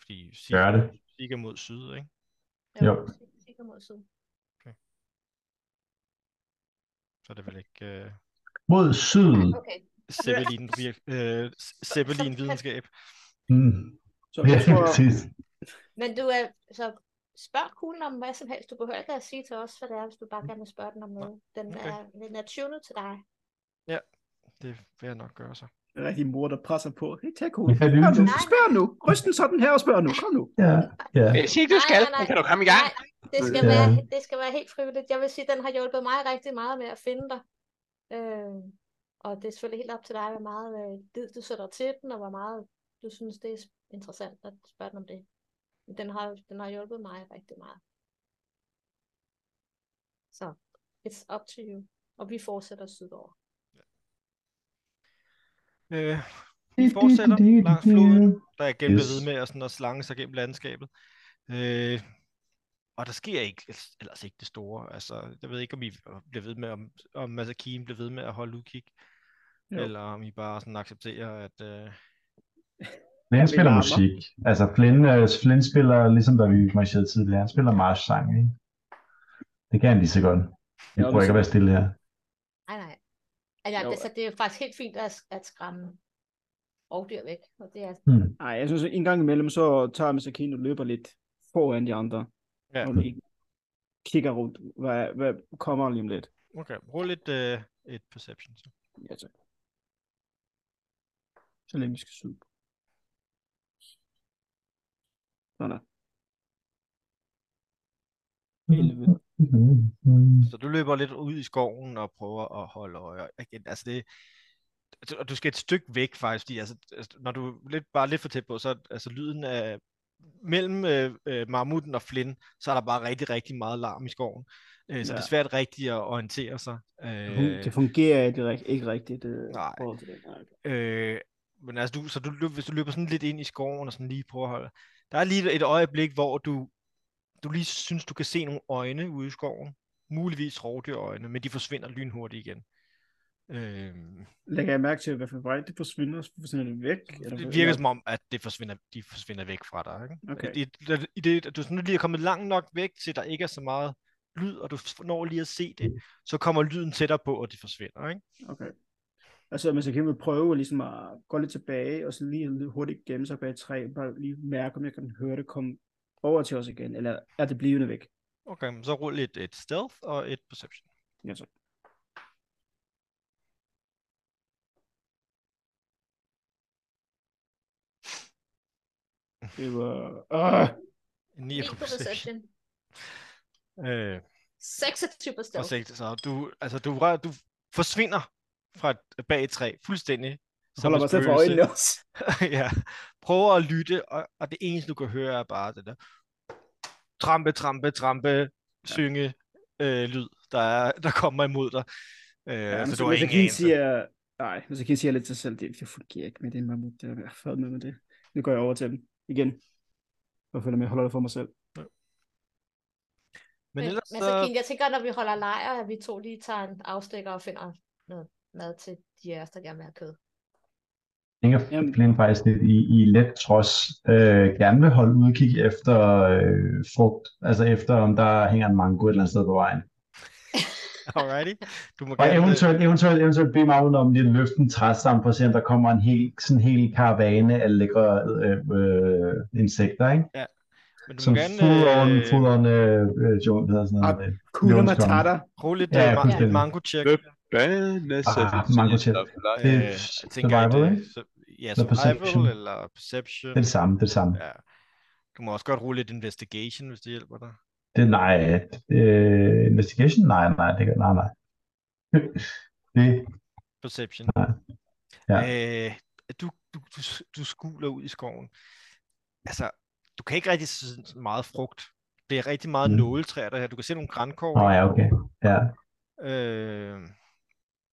Speaker 3: Fordi Sik,
Speaker 2: Gør det.
Speaker 3: Sik er mod syd, ikke?
Speaker 2: Jo.
Speaker 1: Sik- Sik er mod syd.
Speaker 3: Så er det vel ikke øh,
Speaker 2: Mod syd.
Speaker 1: Nej, okay.
Speaker 3: Zeppelin, vir- øh, Zeppelin
Speaker 1: kan-
Speaker 3: videnskab.
Speaker 2: Mm.
Speaker 4: Så
Speaker 2: Ja,
Speaker 4: jeg tror,
Speaker 2: præcis.
Speaker 1: Men du er, så spørg kuglen om hvad som helst. Du behøver ikke at sige til os, hvad det er, hvis du bare gerne vil spørge den om noget. Den
Speaker 3: okay.
Speaker 1: er, den er tunet til dig.
Speaker 3: Det vil jeg nok gøre så.
Speaker 4: en rigtig mor, der presser på. Hey, tag kuglen.
Speaker 2: Ja, det er
Speaker 4: Spørg nu,
Speaker 1: det.
Speaker 4: spørg nu. Ryst den sådan her og spørg nu. Kom nu.
Speaker 2: Ja, ja.
Speaker 5: jeg siger ikke, Øh, du
Speaker 1: Nej,
Speaker 5: skal,
Speaker 1: nej, nej.
Speaker 5: men kan du komme i gang?
Speaker 1: Nej, det skal,
Speaker 2: Ja.
Speaker 1: være, det skal være helt frivilligt. Jeg vil sige, at den har hjulpet mig rigtig meget med at finde dig. Øh, og det er selvfølgelig helt op til dig, hvor meget øh, lid du sætter til den, og hvor meget du synes, det er interessant at spørge den om det. Men Den har, den har hjulpet mig rigtig meget. Så, it's up to you. Og vi fortsætter sydover.
Speaker 3: Øh, vi fortsætter langs floden, der er gennem yes. ved
Speaker 2: Yes.
Speaker 3: med at, sådan, at slange sig gennem landskabet. Øh, og der sker ikke, ellers- ellers ikke det store. Altså, jeg ved ikke, om I bliver ved med, om, om Masakine bliver ved med at holde udkig.
Speaker 4: Jo.
Speaker 3: Eller om I bare sådan accepterer, at... Øh,
Speaker 2: Flynn spiller
Speaker 4: larmer.
Speaker 2: musik. Altså Flynn, øh, Flynn spiller, ligesom da vi marcherede tidligere, han spiller marchsang, ikke? Det kan han lige så godt. Jeg
Speaker 4: Ja,
Speaker 2: prøver
Speaker 4: men
Speaker 2: ikke at være stille her.
Speaker 1: Nej, nej. Altså,
Speaker 4: Jo,
Speaker 1: det, så det er faktisk helt fint at, at skræmme rovdyr væk. Og det er,
Speaker 4: Nej, jeg synes, at en gang imellem, så tager Masakine og løber lidt foran de andre.
Speaker 3: ja,
Speaker 4: Når de ikke kigger rundt. Hvad, hvad kommer lige om lidt?
Speaker 3: okay. Rul lidt øh, et perception. Så.
Speaker 4: Ja, tak. Så længe vi skal syd. Sådan der. 11.
Speaker 2: Mm.
Speaker 3: så du løber lidt ud i skoven og prøver at holde øje. Og Igen, altså det, altså, og du skal et stykke væk faktisk, fordi altså, altså, når du er lidt, bare lidt for tæt på, så er altså, lyden af, mellem øh, øh, mammuten og Flynn, så er der bare rigtig, rigtig meget larm i skoven. Øh, så ja. det
Speaker 4: Ja.
Speaker 3: er svært rigtigt at orientere sig. Øh,
Speaker 4: Det fungerer ikke, rig- ikke rigtigt. Øh,
Speaker 3: Nej.
Speaker 4: forhold til det. Nej.
Speaker 3: Øh, men altså, du, så du, løb- hvis du løber sådan lidt ind i skoven og sådan lige prøver at holde... Der er lige et øjeblik, hvor du, du lige synes, du kan se nogle øjne ude i skoven. Muligvis rovdyrøjne, men de forsvinder lynhurtigt igen. Øh,
Speaker 4: Lægger jeg mærke til, hvad for vej det forsvinder, så forsvinder det væk? Eller,
Speaker 3: det virker som om, at det forsvinder, de forsvinder væk fra dig. Ikke?
Speaker 4: Okay.
Speaker 3: I, i- i det, at du sådan lige er kommet langt nok væk, til der ikke er så meget lyd, og du når lige at se det, så kommer lyden tættere på, og det forsvinder. Ikke?
Speaker 4: Okay. Altså, man skal kæmpe prøve ligesom at gå lidt tilbage, og så lige lidt hurtigt gemme sig bag et træ, bare lige mærke, om jeg kan høre det komme over til os igen, eller er det blivende væk?
Speaker 3: Okay, men så rulle et, et stealth og et perception.
Speaker 4: Ja, så. Det var... Ah!
Speaker 3: En 9
Speaker 1: Ikke på perception.
Speaker 3: Øh,
Speaker 1: 26 på stealth.
Speaker 3: Forsigtigt, så du, altså, du, rør, du forsvinder fra et, bag et træ fuldstændig.
Speaker 4: Så
Speaker 3: som
Speaker 4: holder
Speaker 3: et
Speaker 4: mig til for
Speaker 3: spøgelse.
Speaker 4: øjnene også.
Speaker 3: ja. Prøver at lytte, og, og det eneste, du kan høre, er bare det der. Trampe, trampe, trampe, ja. synge, øh, lyd, der, er, der kommer imod dig. Øh,
Speaker 4: Ja,
Speaker 3: ja,
Speaker 4: men
Speaker 3: så
Speaker 4: så
Speaker 3: du har
Speaker 4: hvis
Speaker 3: ingen
Speaker 4: jeg kan
Speaker 3: anelse.
Speaker 4: sige, nej, hvis jeg kan sige lidt til sig selv, det, det fungerer ikke med det mammut, det er fred med, med det. Nu går jeg over til dem igen. Og følger med, holder det for mig selv.
Speaker 3: Men ellers
Speaker 1: men så,
Speaker 3: så...
Speaker 1: Kim, jeg tænker, når vi holder lejr, at vi to lige tager en afstikker og finder noget mad til de af os, der gerne vil have kød.
Speaker 2: tænker
Speaker 4: Jamen.
Speaker 2: Flynn faktisk lidt i, i let trods, øh, gerne vil holde udkig efter øh, frugt, altså efter om der hænger en mango et eller andet sted på vejen.
Speaker 3: Alrighty. Du må
Speaker 2: Og
Speaker 3: gerne...
Speaker 2: eventuelt, eventuelt, eventuelt bede mig om lige at løfte en træstamme for at se, om der kommer en hel, sådan en hel karavane af lækre øh, øh, insekter, ikke?
Speaker 3: Men du
Speaker 2: Som
Speaker 3: må
Speaker 2: full on,
Speaker 3: gerne
Speaker 2: full
Speaker 3: øh, Ah,
Speaker 2: on øh, øh, Joe, hvad hedder sådan noget. Øh,
Speaker 4: Kugler
Speaker 2: Jones Strong.
Speaker 4: matata.
Speaker 3: rulle lidt
Speaker 2: Ja,
Speaker 3: ja, ma-
Speaker 2: fuldstændig.
Speaker 3: mango-check.
Speaker 5: Løb. Banas
Speaker 2: Ah, Mango Chat. Det er
Speaker 3: Øh, jeg tænker, at,
Speaker 2: survival,
Speaker 3: øh,
Speaker 2: ikke?
Speaker 3: så- Ja,
Speaker 2: Eller perception.
Speaker 3: survival eller perception.
Speaker 2: Det er det samme, det er det samme.
Speaker 3: Ja. Du må også godt rulle lidt investigation, hvis det hjælper dig.
Speaker 2: Det er nej. Øh, investigation? Nej, nej, det gør, nej, nej. det,
Speaker 3: Perception.
Speaker 2: Nej.
Speaker 3: Øh, at du, du, du, s- du skuler ud i skoven. Altså, du kan ikke rigtig se sådan meget frugt. Det er rigtig meget
Speaker 2: Mm.
Speaker 3: mm. nåletræer der her. Du kan se nogle
Speaker 2: Nå
Speaker 3: grænkogler.
Speaker 2: ja, okay. Ja.
Speaker 3: Øh,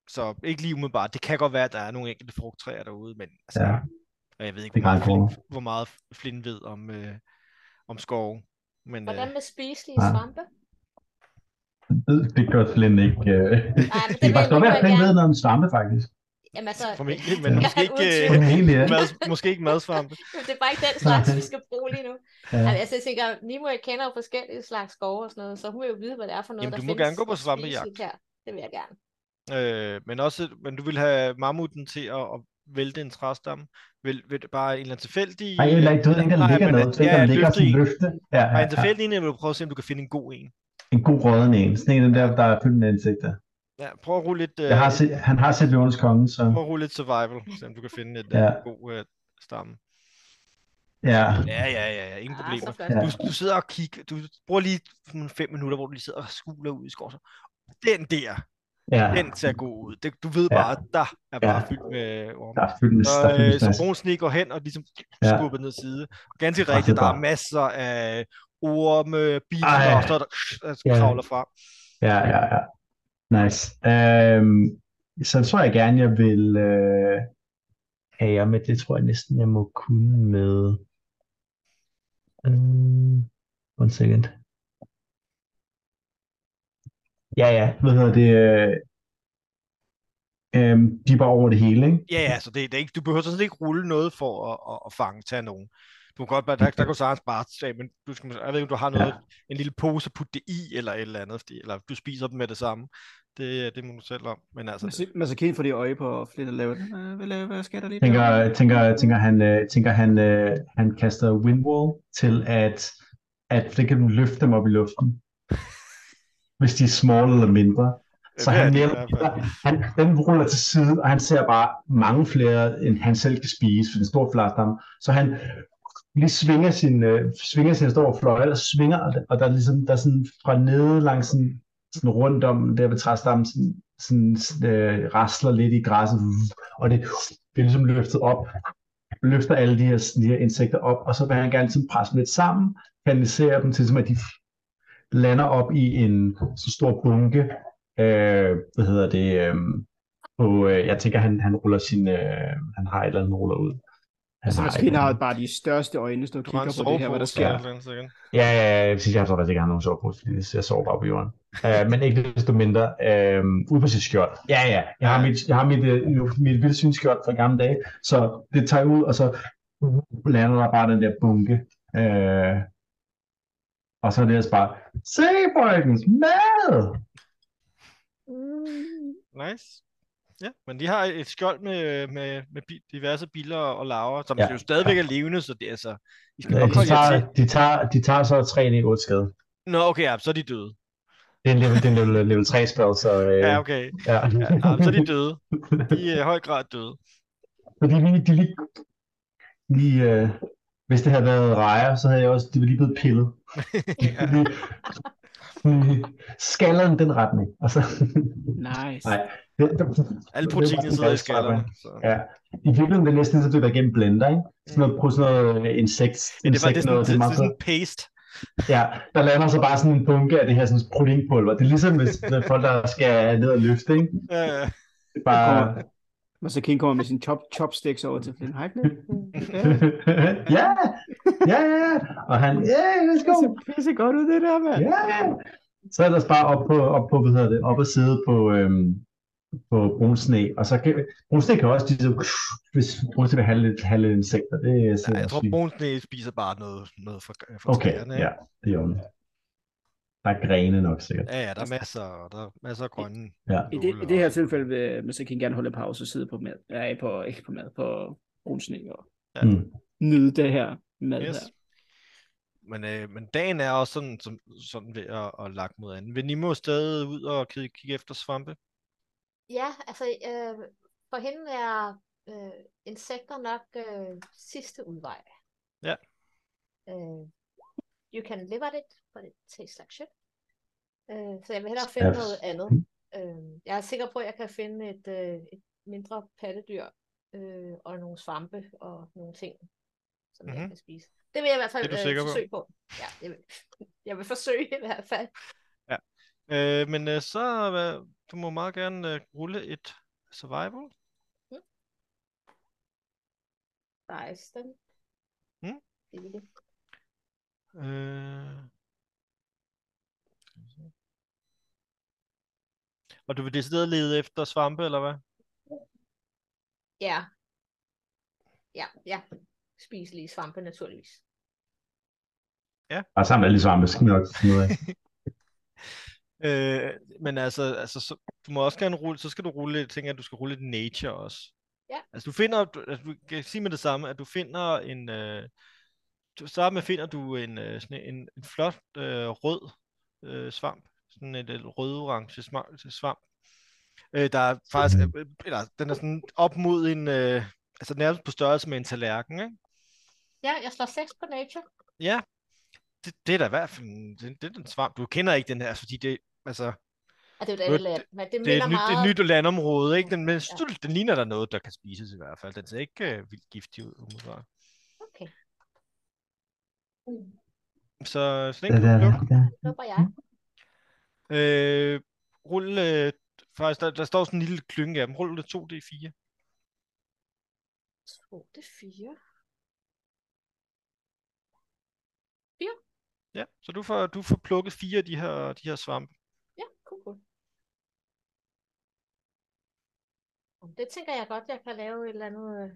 Speaker 3: så ikke lige umiddelbart. Det kan godt være, at der er nogle enkelte frugttræer derude, men altså,
Speaker 2: Ja.
Speaker 3: og jeg ved ikke,
Speaker 2: Det
Speaker 3: hvor
Speaker 2: er
Speaker 3: meget,
Speaker 2: grankogler.
Speaker 3: Flynn, hvor meget Flynn ved om, øh, om skov. Men,
Speaker 1: Hvordan
Speaker 3: øh,
Speaker 1: med spiselige
Speaker 2: Ja.
Speaker 1: svampe?
Speaker 2: Det, det gør Flynn ikke. Øh.
Speaker 1: Nej, men
Speaker 2: Det
Speaker 1: det
Speaker 2: kan faktisk
Speaker 1: vil
Speaker 2: godt være,
Speaker 1: jeg
Speaker 2: at Flynn ved
Speaker 1: gerne.
Speaker 2: noget om svampe, faktisk.
Speaker 1: Jamen altså,
Speaker 3: formentlig, men måske ikke,
Speaker 1: Uden
Speaker 3: øh,
Speaker 1: tvivl.
Speaker 2: Egentlig, ja.
Speaker 3: mad, måske ikke madsvampe.
Speaker 1: det er bare ikke den slags, vi skal bruge lige nu.
Speaker 2: Ja.
Speaker 1: Altså, altså, jeg tænker, Nimo, jeg kender jo forskellige slags skove og sådan noget, så hun vil jo vide, hvad det er for noget,
Speaker 3: Jamen,
Speaker 1: der
Speaker 3: du må
Speaker 1: findes
Speaker 3: gerne gå på
Speaker 1: at spise
Speaker 3: svampejagt.
Speaker 1: lidt Her. Det vil jeg gerne.
Speaker 3: Øh, men også, men du vil have mammuten til at, at vælte en træstamme. Vil, vil det bare en eller anden tilfældig... øh,
Speaker 2: Nej, eller ikke, du ved ikke, der
Speaker 3: Nej,
Speaker 2: ligger
Speaker 3: men,
Speaker 2: noget. Du ved
Speaker 3: ja,
Speaker 2: ikke, der
Speaker 3: ja,
Speaker 2: ligger
Speaker 3: løfte
Speaker 2: sådan en
Speaker 3: en.
Speaker 2: løfte. Ja,
Speaker 3: Bare
Speaker 2: ja, ja.
Speaker 3: en tilfældig en, jeg vil prøve at se, om du kan finde en god en.
Speaker 2: En god rødden en. Sådan en af dem der, der er fyldt med insekter.
Speaker 3: Ja, prøv at rulle lidt, øh,
Speaker 2: Jeg har set, han har set Løvens Konge, så
Speaker 3: prøv at rulle lidt survival, så om du kan finde et,
Speaker 2: Ja.
Speaker 3: ja. god øh, stamme.
Speaker 2: ja.
Speaker 3: Ja, ja, ja, ja, ingen
Speaker 1: Ah,
Speaker 3: problemer.
Speaker 1: så flot.
Speaker 2: Ja.
Speaker 3: Du, du sidder og kigger, du bruger lige sådan fem minutter, hvor du lige sidder og skuler ud i skoven. så, Den der,
Speaker 2: ja.
Speaker 3: den ser god ud. Det, du ved
Speaker 2: Ja.
Speaker 3: bare, der er bare
Speaker 2: Ja.
Speaker 3: fyldt med orme.
Speaker 2: Der er fyldt med
Speaker 3: Så,
Speaker 2: der er fyldt
Speaker 3: øh,
Speaker 2: med
Speaker 3: så
Speaker 2: snask.
Speaker 3: Brun Sne går hen og ligesom
Speaker 2: Ja.
Speaker 3: ja. skubber ned side. Og ganske
Speaker 2: Presset
Speaker 3: rigtigt, der er
Speaker 2: bare.
Speaker 3: masser af orme, biler,
Speaker 2: Ej.
Speaker 3: og så der, der
Speaker 2: Ja.
Speaker 3: kravler fra.
Speaker 2: Ja, ja, ja. Nice. Øhm, så tror jeg gerne, jeg vil øh, ære med. Det tror jeg næsten, jeg må kunne med. Um, one second. Ja, ja. Hvad hedder det? Øh, øhm, de er bare over det hele, ikke?
Speaker 3: Ja, ja, så det, det er ikke, du behøver sådan set ikke rulle noget for at, at, at fange, tage nogen. Du kan godt bare, der, der kan sagtens bare tage, men du skal, jeg ved ikke, om du har noget, ja. en lille pose at putte det i, eller et eller andet, fordi, eller du spiser dem med det samme. Det, det må du selv om. Men altså, det,
Speaker 4: Masakin får det øje på Flint og laver den. Øh, hvad, laver, hvad sker der lige
Speaker 2: Tænker,
Speaker 4: der?
Speaker 2: tænker, tænker han, øh, tænker han, øh, han kaster windwall til at, at det kan løfte dem op i luften. Hvis de er small eller mindre. Så
Speaker 3: det er
Speaker 2: han,
Speaker 3: det i
Speaker 2: mere,
Speaker 3: hvert fald.
Speaker 2: han, den ruller til side, og han ser bare mange flere, end han selv kan spise, for den store fladstamme. Så han lige svinger sin, øh, svinger sin store fløjle, og svinger, og der- og der er ligesom, der er sådan fra nede langs sådan, sådan rundt om der ved træstammen, sådan, sådan øh, rasler lidt i græsset, og det bliver ligesom løftet op, løfter alle de her, de her insekter op, og så vil han gerne sådan presse dem lidt sammen, kanalisere dem til, som ligesom, at de lander op i en så stor bunke, øh, hvad hedder det, øh, på, øh, jeg tænker, han, han ruller sin, øh, han har et eller andet, han ruller ud. Han
Speaker 4: Altså,
Speaker 2: har et
Speaker 4: maskinen
Speaker 2: eller
Speaker 4: har
Speaker 2: andet.
Speaker 4: bare de største øjne, der
Speaker 3: Du har en
Speaker 4: kigger på det her, hvad der
Speaker 3: sovepose
Speaker 4: sker.
Speaker 2: ja.
Speaker 3: eller et eller andet,
Speaker 2: Ja, ja, ja, jeg, synes, jeg har faktisk ikke haft nogen sovepose, fordi jeg sover bare på jorden. Uh, men ikke desto mindre, uh, ude på sit skjold. Ja, ja, jeg har
Speaker 3: Ja.
Speaker 2: mit, jeg har mit, uh, mit vildsynsskjold fra gamle dage, så det tager jeg ud, og så lander der bare den der bunke. Uh, og så er det altså bare, se Brøkens mad!
Speaker 1: Mm.
Speaker 3: sikkert. Nice. Ja, men de har et skjold med, med, med bi- diverse biler og laver, som
Speaker 2: Ja.
Speaker 3: ja. jo stadigvæk er levende, så det er altså... I skal nok
Speaker 2: De
Speaker 3: holde jer
Speaker 2: tager,
Speaker 3: til.
Speaker 2: de tager, de tager så 3 d 8 skade.
Speaker 3: Nå, okay, ja, så er de døde.
Speaker 2: Det er en level, det er en level, level 3 spil, så... Uh,
Speaker 3: Ja, okay.
Speaker 2: ja.
Speaker 3: Ja, ja, så er de døde. De er i øh, høj grad døde.
Speaker 2: Fordi lige, de lige, lige øh, hvis det havde været rejer, så havde jeg også, det var lige blevet pillet.
Speaker 3: ja.
Speaker 2: Lige, lige, skalleren den retning. Og så,
Speaker 4: Nice.
Speaker 2: Nej. det, det,
Speaker 3: Alle
Speaker 2: Det er
Speaker 3: proteinerne
Speaker 2: bare
Speaker 3: sidder i
Speaker 2: en græsstrapper.
Speaker 3: skallerne. Så.
Speaker 2: ja. I virkeligheden det er næsten ligesom, det der gennem blender, ikke? Sådan noget, på sådan noget øh, insekt,
Speaker 3: Men det var det er
Speaker 2: insekt
Speaker 3: sådan,
Speaker 2: noget, det
Speaker 3: det,
Speaker 2: er
Speaker 3: det,
Speaker 2: meget
Speaker 3: er
Speaker 2: fedt.
Speaker 3: sådan paste.
Speaker 2: Ja, der lander så bare sådan en bunke af det her sådan proteinpulver. Det er ligesom, hvis der er folk, der skal ned og løfte, ikke?
Speaker 3: Ja, ja.
Speaker 2: Det er bare...
Speaker 4: Og så King kommer med sin chop, chopsticks over til Flynn Heifner. Ja,
Speaker 2: ja, ja, ja. Og han, ja, yeah, let's
Speaker 4: det
Speaker 2: go.
Speaker 4: ser pisse godt ud, det der, mand.
Speaker 2: Ja! Så ellers bare op på, op på hvad hedder det, op og sidde på, øhm, på brun sne, og så kan, brun sne kan også ligesom, hvis brun sne vil have lidt, have lidt insekter, det er
Speaker 3: Ja,
Speaker 2: sikkert
Speaker 3: jeg tror,
Speaker 2: sygt.
Speaker 3: Brunsen spiser bare noget, noget fra, fra
Speaker 2: Okay,
Speaker 3: træerne,
Speaker 2: ja,
Speaker 3: ikke?
Speaker 2: det er ordentligt. Der er grene nok sikkert.
Speaker 3: Ja, ja, der er masser, og der er masser af grønne.
Speaker 2: Ja.
Speaker 4: I det, I det her tilfælde vil Mr. King gerne holde pause og sidde på mad. Nej, på, ikke på mad, på brun sne og
Speaker 3: Ja.
Speaker 2: Mm.
Speaker 4: nyde det her mad
Speaker 3: Yes.
Speaker 4: her.
Speaker 3: Men, øh, men dagen er også sådan, som, sådan ved at, at lagt mod anden. Vil Nimo stadig ud og kigge, kigge efter svampe?
Speaker 1: Ja, altså øh, for hende er øh, insekter nok øh, sidste udvej.
Speaker 3: Ja.
Speaker 1: Øh, you can live at it, but it tastes like shit. Øh, så jeg vil hellere
Speaker 2: Ja.
Speaker 1: finde noget andet. Øh, jeg er sikker på, at jeg kan finde et, øh, et mindre pattedyr øh, og nogle svampe og nogle ting, som
Speaker 3: Mhm.
Speaker 1: jeg kan spise. Det vil jeg i hvert fald
Speaker 3: Det er du
Speaker 1: øh,
Speaker 3: sikker på?
Speaker 1: forsøge på. Ja, jeg vil, jeg vil forsøge i hvert fald.
Speaker 3: Øh, men øh, så øh, du må meget gerne øh, rulle et survival.
Speaker 1: Nice. Den.
Speaker 3: Mm.
Speaker 1: Det er det.
Speaker 3: Øh... skal vi se. Og du vil decideret lede efter svampe, eller hvad?
Speaker 1: Ja. Ja, ja. Spiselige svampe, naturligvis.
Speaker 2: Og sammen med alle de svampe, skal vi nok finde ud af.
Speaker 3: Øh, men altså, altså så, du må også gerne rulle, så skal du rulle, jeg tænker, at du skal rulle et nature også.
Speaker 1: Ja.
Speaker 3: Altså du finder, du, altså, du kan sige med det samme, at du finder en, øh, du starter med, finder du en, øh, sådan en, en flot øh, rød øh, svamp, sådan en øh, rød-orange sma- svamp. Øh, der er faktisk, øh, eller den er sådan op mod en, øh, altså nærmest på størrelse med en tallerken, ikke?
Speaker 1: Ja, jeg slår 6 på nature.
Speaker 3: Ja, det, det er da i hvert fald, en- det, det er en svamp. Du kender ikke den her, fordi det, altså,
Speaker 1: Og det er jo
Speaker 3: Nu er
Speaker 1: et andet land, men det
Speaker 3: Det er
Speaker 1: minder
Speaker 3: et nyt, et
Speaker 1: meget...
Speaker 3: nyt landområde, ikke? Den, men
Speaker 1: Ja.
Speaker 3: stult, den ligner der noget, der kan spises i hvert fald. Den ser ikke øh, vildt giftig ud, umiddelbart.
Speaker 1: Okay.
Speaker 3: Så, så den
Speaker 2: Da,
Speaker 3: kan
Speaker 2: da,
Speaker 3: du
Speaker 2: da,
Speaker 3: plukke.
Speaker 2: da.
Speaker 1: Det håber jeg.
Speaker 3: Øh, rul, øh, faktisk, der, der står sådan en lille klynge af dem. Rul det 2D4.
Speaker 1: 2, det er 4.
Speaker 3: Ja, så du får, du får plukket fire af de her, de her svampe.
Speaker 1: Ja, cool, cool. Om Det tænker jeg godt, jeg kan lave et eller andet øh,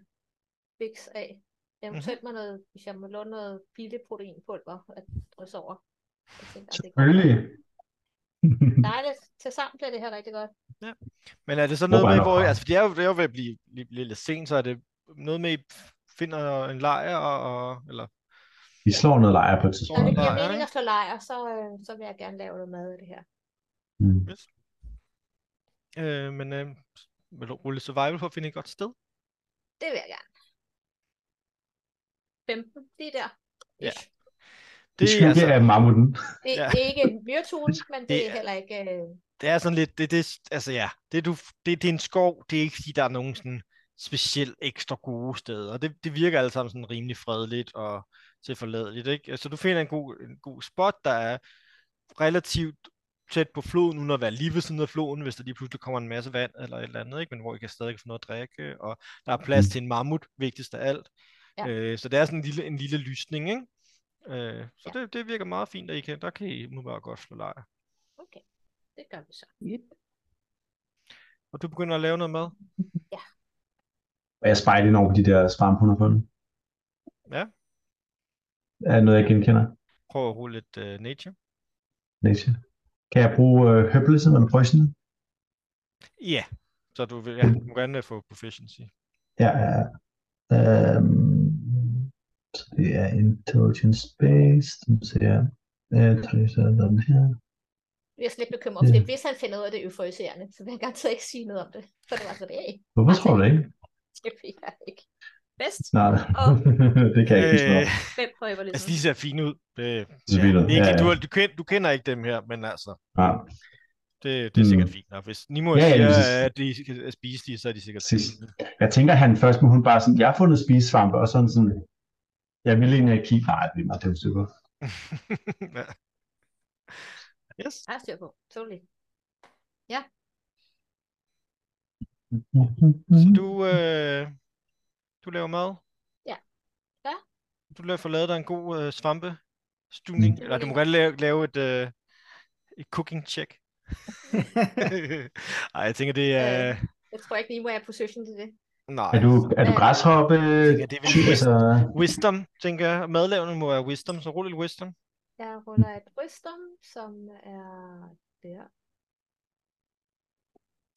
Speaker 1: fix af.
Speaker 3: Mhm.
Speaker 1: Eventuelt med noget, hvis jeg må låne noget pilleproteinpulver at drysse over. Jeg tænker, at det kan
Speaker 2: Selvfølgelig.
Speaker 1: dejligt. Til sammen bliver det her rigtig godt.
Speaker 3: Men er det så
Speaker 2: Håber
Speaker 3: noget
Speaker 2: jeg
Speaker 3: med,
Speaker 2: nok
Speaker 3: hvor...
Speaker 2: har.
Speaker 3: Altså, for det er jo, det er jo ved at blive, blive, blive lidt sent, så er det noget med, I finder en lejr og... og- Eller,
Speaker 2: Vi slår noget lejr på et
Speaker 1: Når
Speaker 2: tidspunkt.
Speaker 1: det giver
Speaker 3: Lejr,
Speaker 1: mening
Speaker 3: ikke?
Speaker 1: at slå lejr, så, øh, så vil jeg gerne lave noget mad af det her.
Speaker 2: Mm.
Speaker 3: øh, men øh, vil du rulle survival for at finde et godt sted?
Speaker 1: Det vil jeg gerne. 15, lige der.
Speaker 3: Ja.
Speaker 1: Ish.
Speaker 2: Det
Speaker 3: Det er,
Speaker 2: skygge
Speaker 3: altså,
Speaker 2: af mammuten.
Speaker 1: Det er
Speaker 3: Ja.
Speaker 1: ikke en myrtone, men det,
Speaker 3: Det
Speaker 1: er
Speaker 3: er-
Speaker 1: heller ikke... Øh...
Speaker 3: det er sådan lidt, det, det, altså ja, det, du, det, det er en skov, det er ikke fordi, der er nogen sådan specielt ekstra gode steder. Det, det virker alle sammen sådan Altså, rimelig fredeligt og tilforladeligt, ikke? Så du finder en god, en god spot, der er relativt tæt på floden, uden at være lige ved siden af floden, hvis der lige pludselig kommer en masse vand eller et eller andet, ikke? men hvor I kan stadig få noget at drikke, og der er plads til en mammut, vigtigst af alt. Mm. Ja. Øh, så det er sådan en lille, en lille lysning, ikke? Øh, så ja. det, det virker meget fint, at I kan, der kan I nu bare godt slå lejr.
Speaker 1: Okay, det gør vi så.
Speaker 4: Yep.
Speaker 3: Og du begynder at lave noget mad?
Speaker 2: Og jeg spejler ind over på de der svampunder på den.
Speaker 3: Ja.
Speaker 2: Er det noget, jeg genkender?
Speaker 3: Prøv at rulle lidt uh, nature.
Speaker 2: Nature. Kan jeg bruge uh, herbalism eller poison?
Speaker 3: Ja, så du vil ja, du må gerne øh, få proficiency.
Speaker 2: Ja, ja. ja. Øhm, så det er intelligence-based. Nu ser jeg. Jeg tror, så er den her.
Speaker 1: Jeg er slet ikke bekymret
Speaker 3: Mm.
Speaker 1: for det. Hvis han finder ud af det euforiserende, så vil jeg garanteret ikke sige noget om det. For det var så det, jeg ikke.
Speaker 2: Hvorfor tror du det ikke?
Speaker 1: Det vil jeg ikke. Bedst.
Speaker 2: Nej,
Speaker 1: Og
Speaker 2: det kan jeg ikke huske noget om.
Speaker 1: fem på herbalism.
Speaker 3: altså, de ser fine ud. Det,
Speaker 2: Det er vildt.
Speaker 3: Ikke,
Speaker 2: Ja, ja.
Speaker 3: du, du, kender, du kender ikke dem her, men altså,
Speaker 2: Ja,
Speaker 3: det, det er
Speaker 2: Mm.
Speaker 3: sikkert fint. Og hvis Nimo
Speaker 2: Ja,
Speaker 3: ja,
Speaker 2: ja,
Speaker 3: siger,
Speaker 2: men så-
Speaker 3: at de skal spise de, så er de sikkert
Speaker 2: præcis.
Speaker 3: fine.
Speaker 2: Jeg tænker, han først, men hun bare sådan, jeg har fundet spisesvampe, og sådan sådan, jeg ville egentlig ikke kigge, nej, det er meget, det er jo super.
Speaker 3: ja. Yes.
Speaker 1: Jeg har styr på. Totally.
Speaker 3: Så
Speaker 2: Mhm.
Speaker 3: du, øh, du laver mad?
Speaker 1: Ja. Ja.
Speaker 3: Du laver, får lavet dig en god øh, svampe stuning.
Speaker 1: Mm.
Speaker 3: Eller du må gerne lave, lave et, øh, et cooking check. Ej, jeg tænker, det er...
Speaker 1: Øh. Jeg tror ikke, Nimo er i position til det.
Speaker 3: Nej.
Speaker 2: Er du, er du græshoppe?
Speaker 3: tænker, det er vel
Speaker 2: type,
Speaker 3: bedst.
Speaker 2: altså?
Speaker 3: Wisdom, tænker jeg. Madlavning må være wisdom, så rulle lidt wisdom.
Speaker 1: Jeg ruller et rystum, som er der.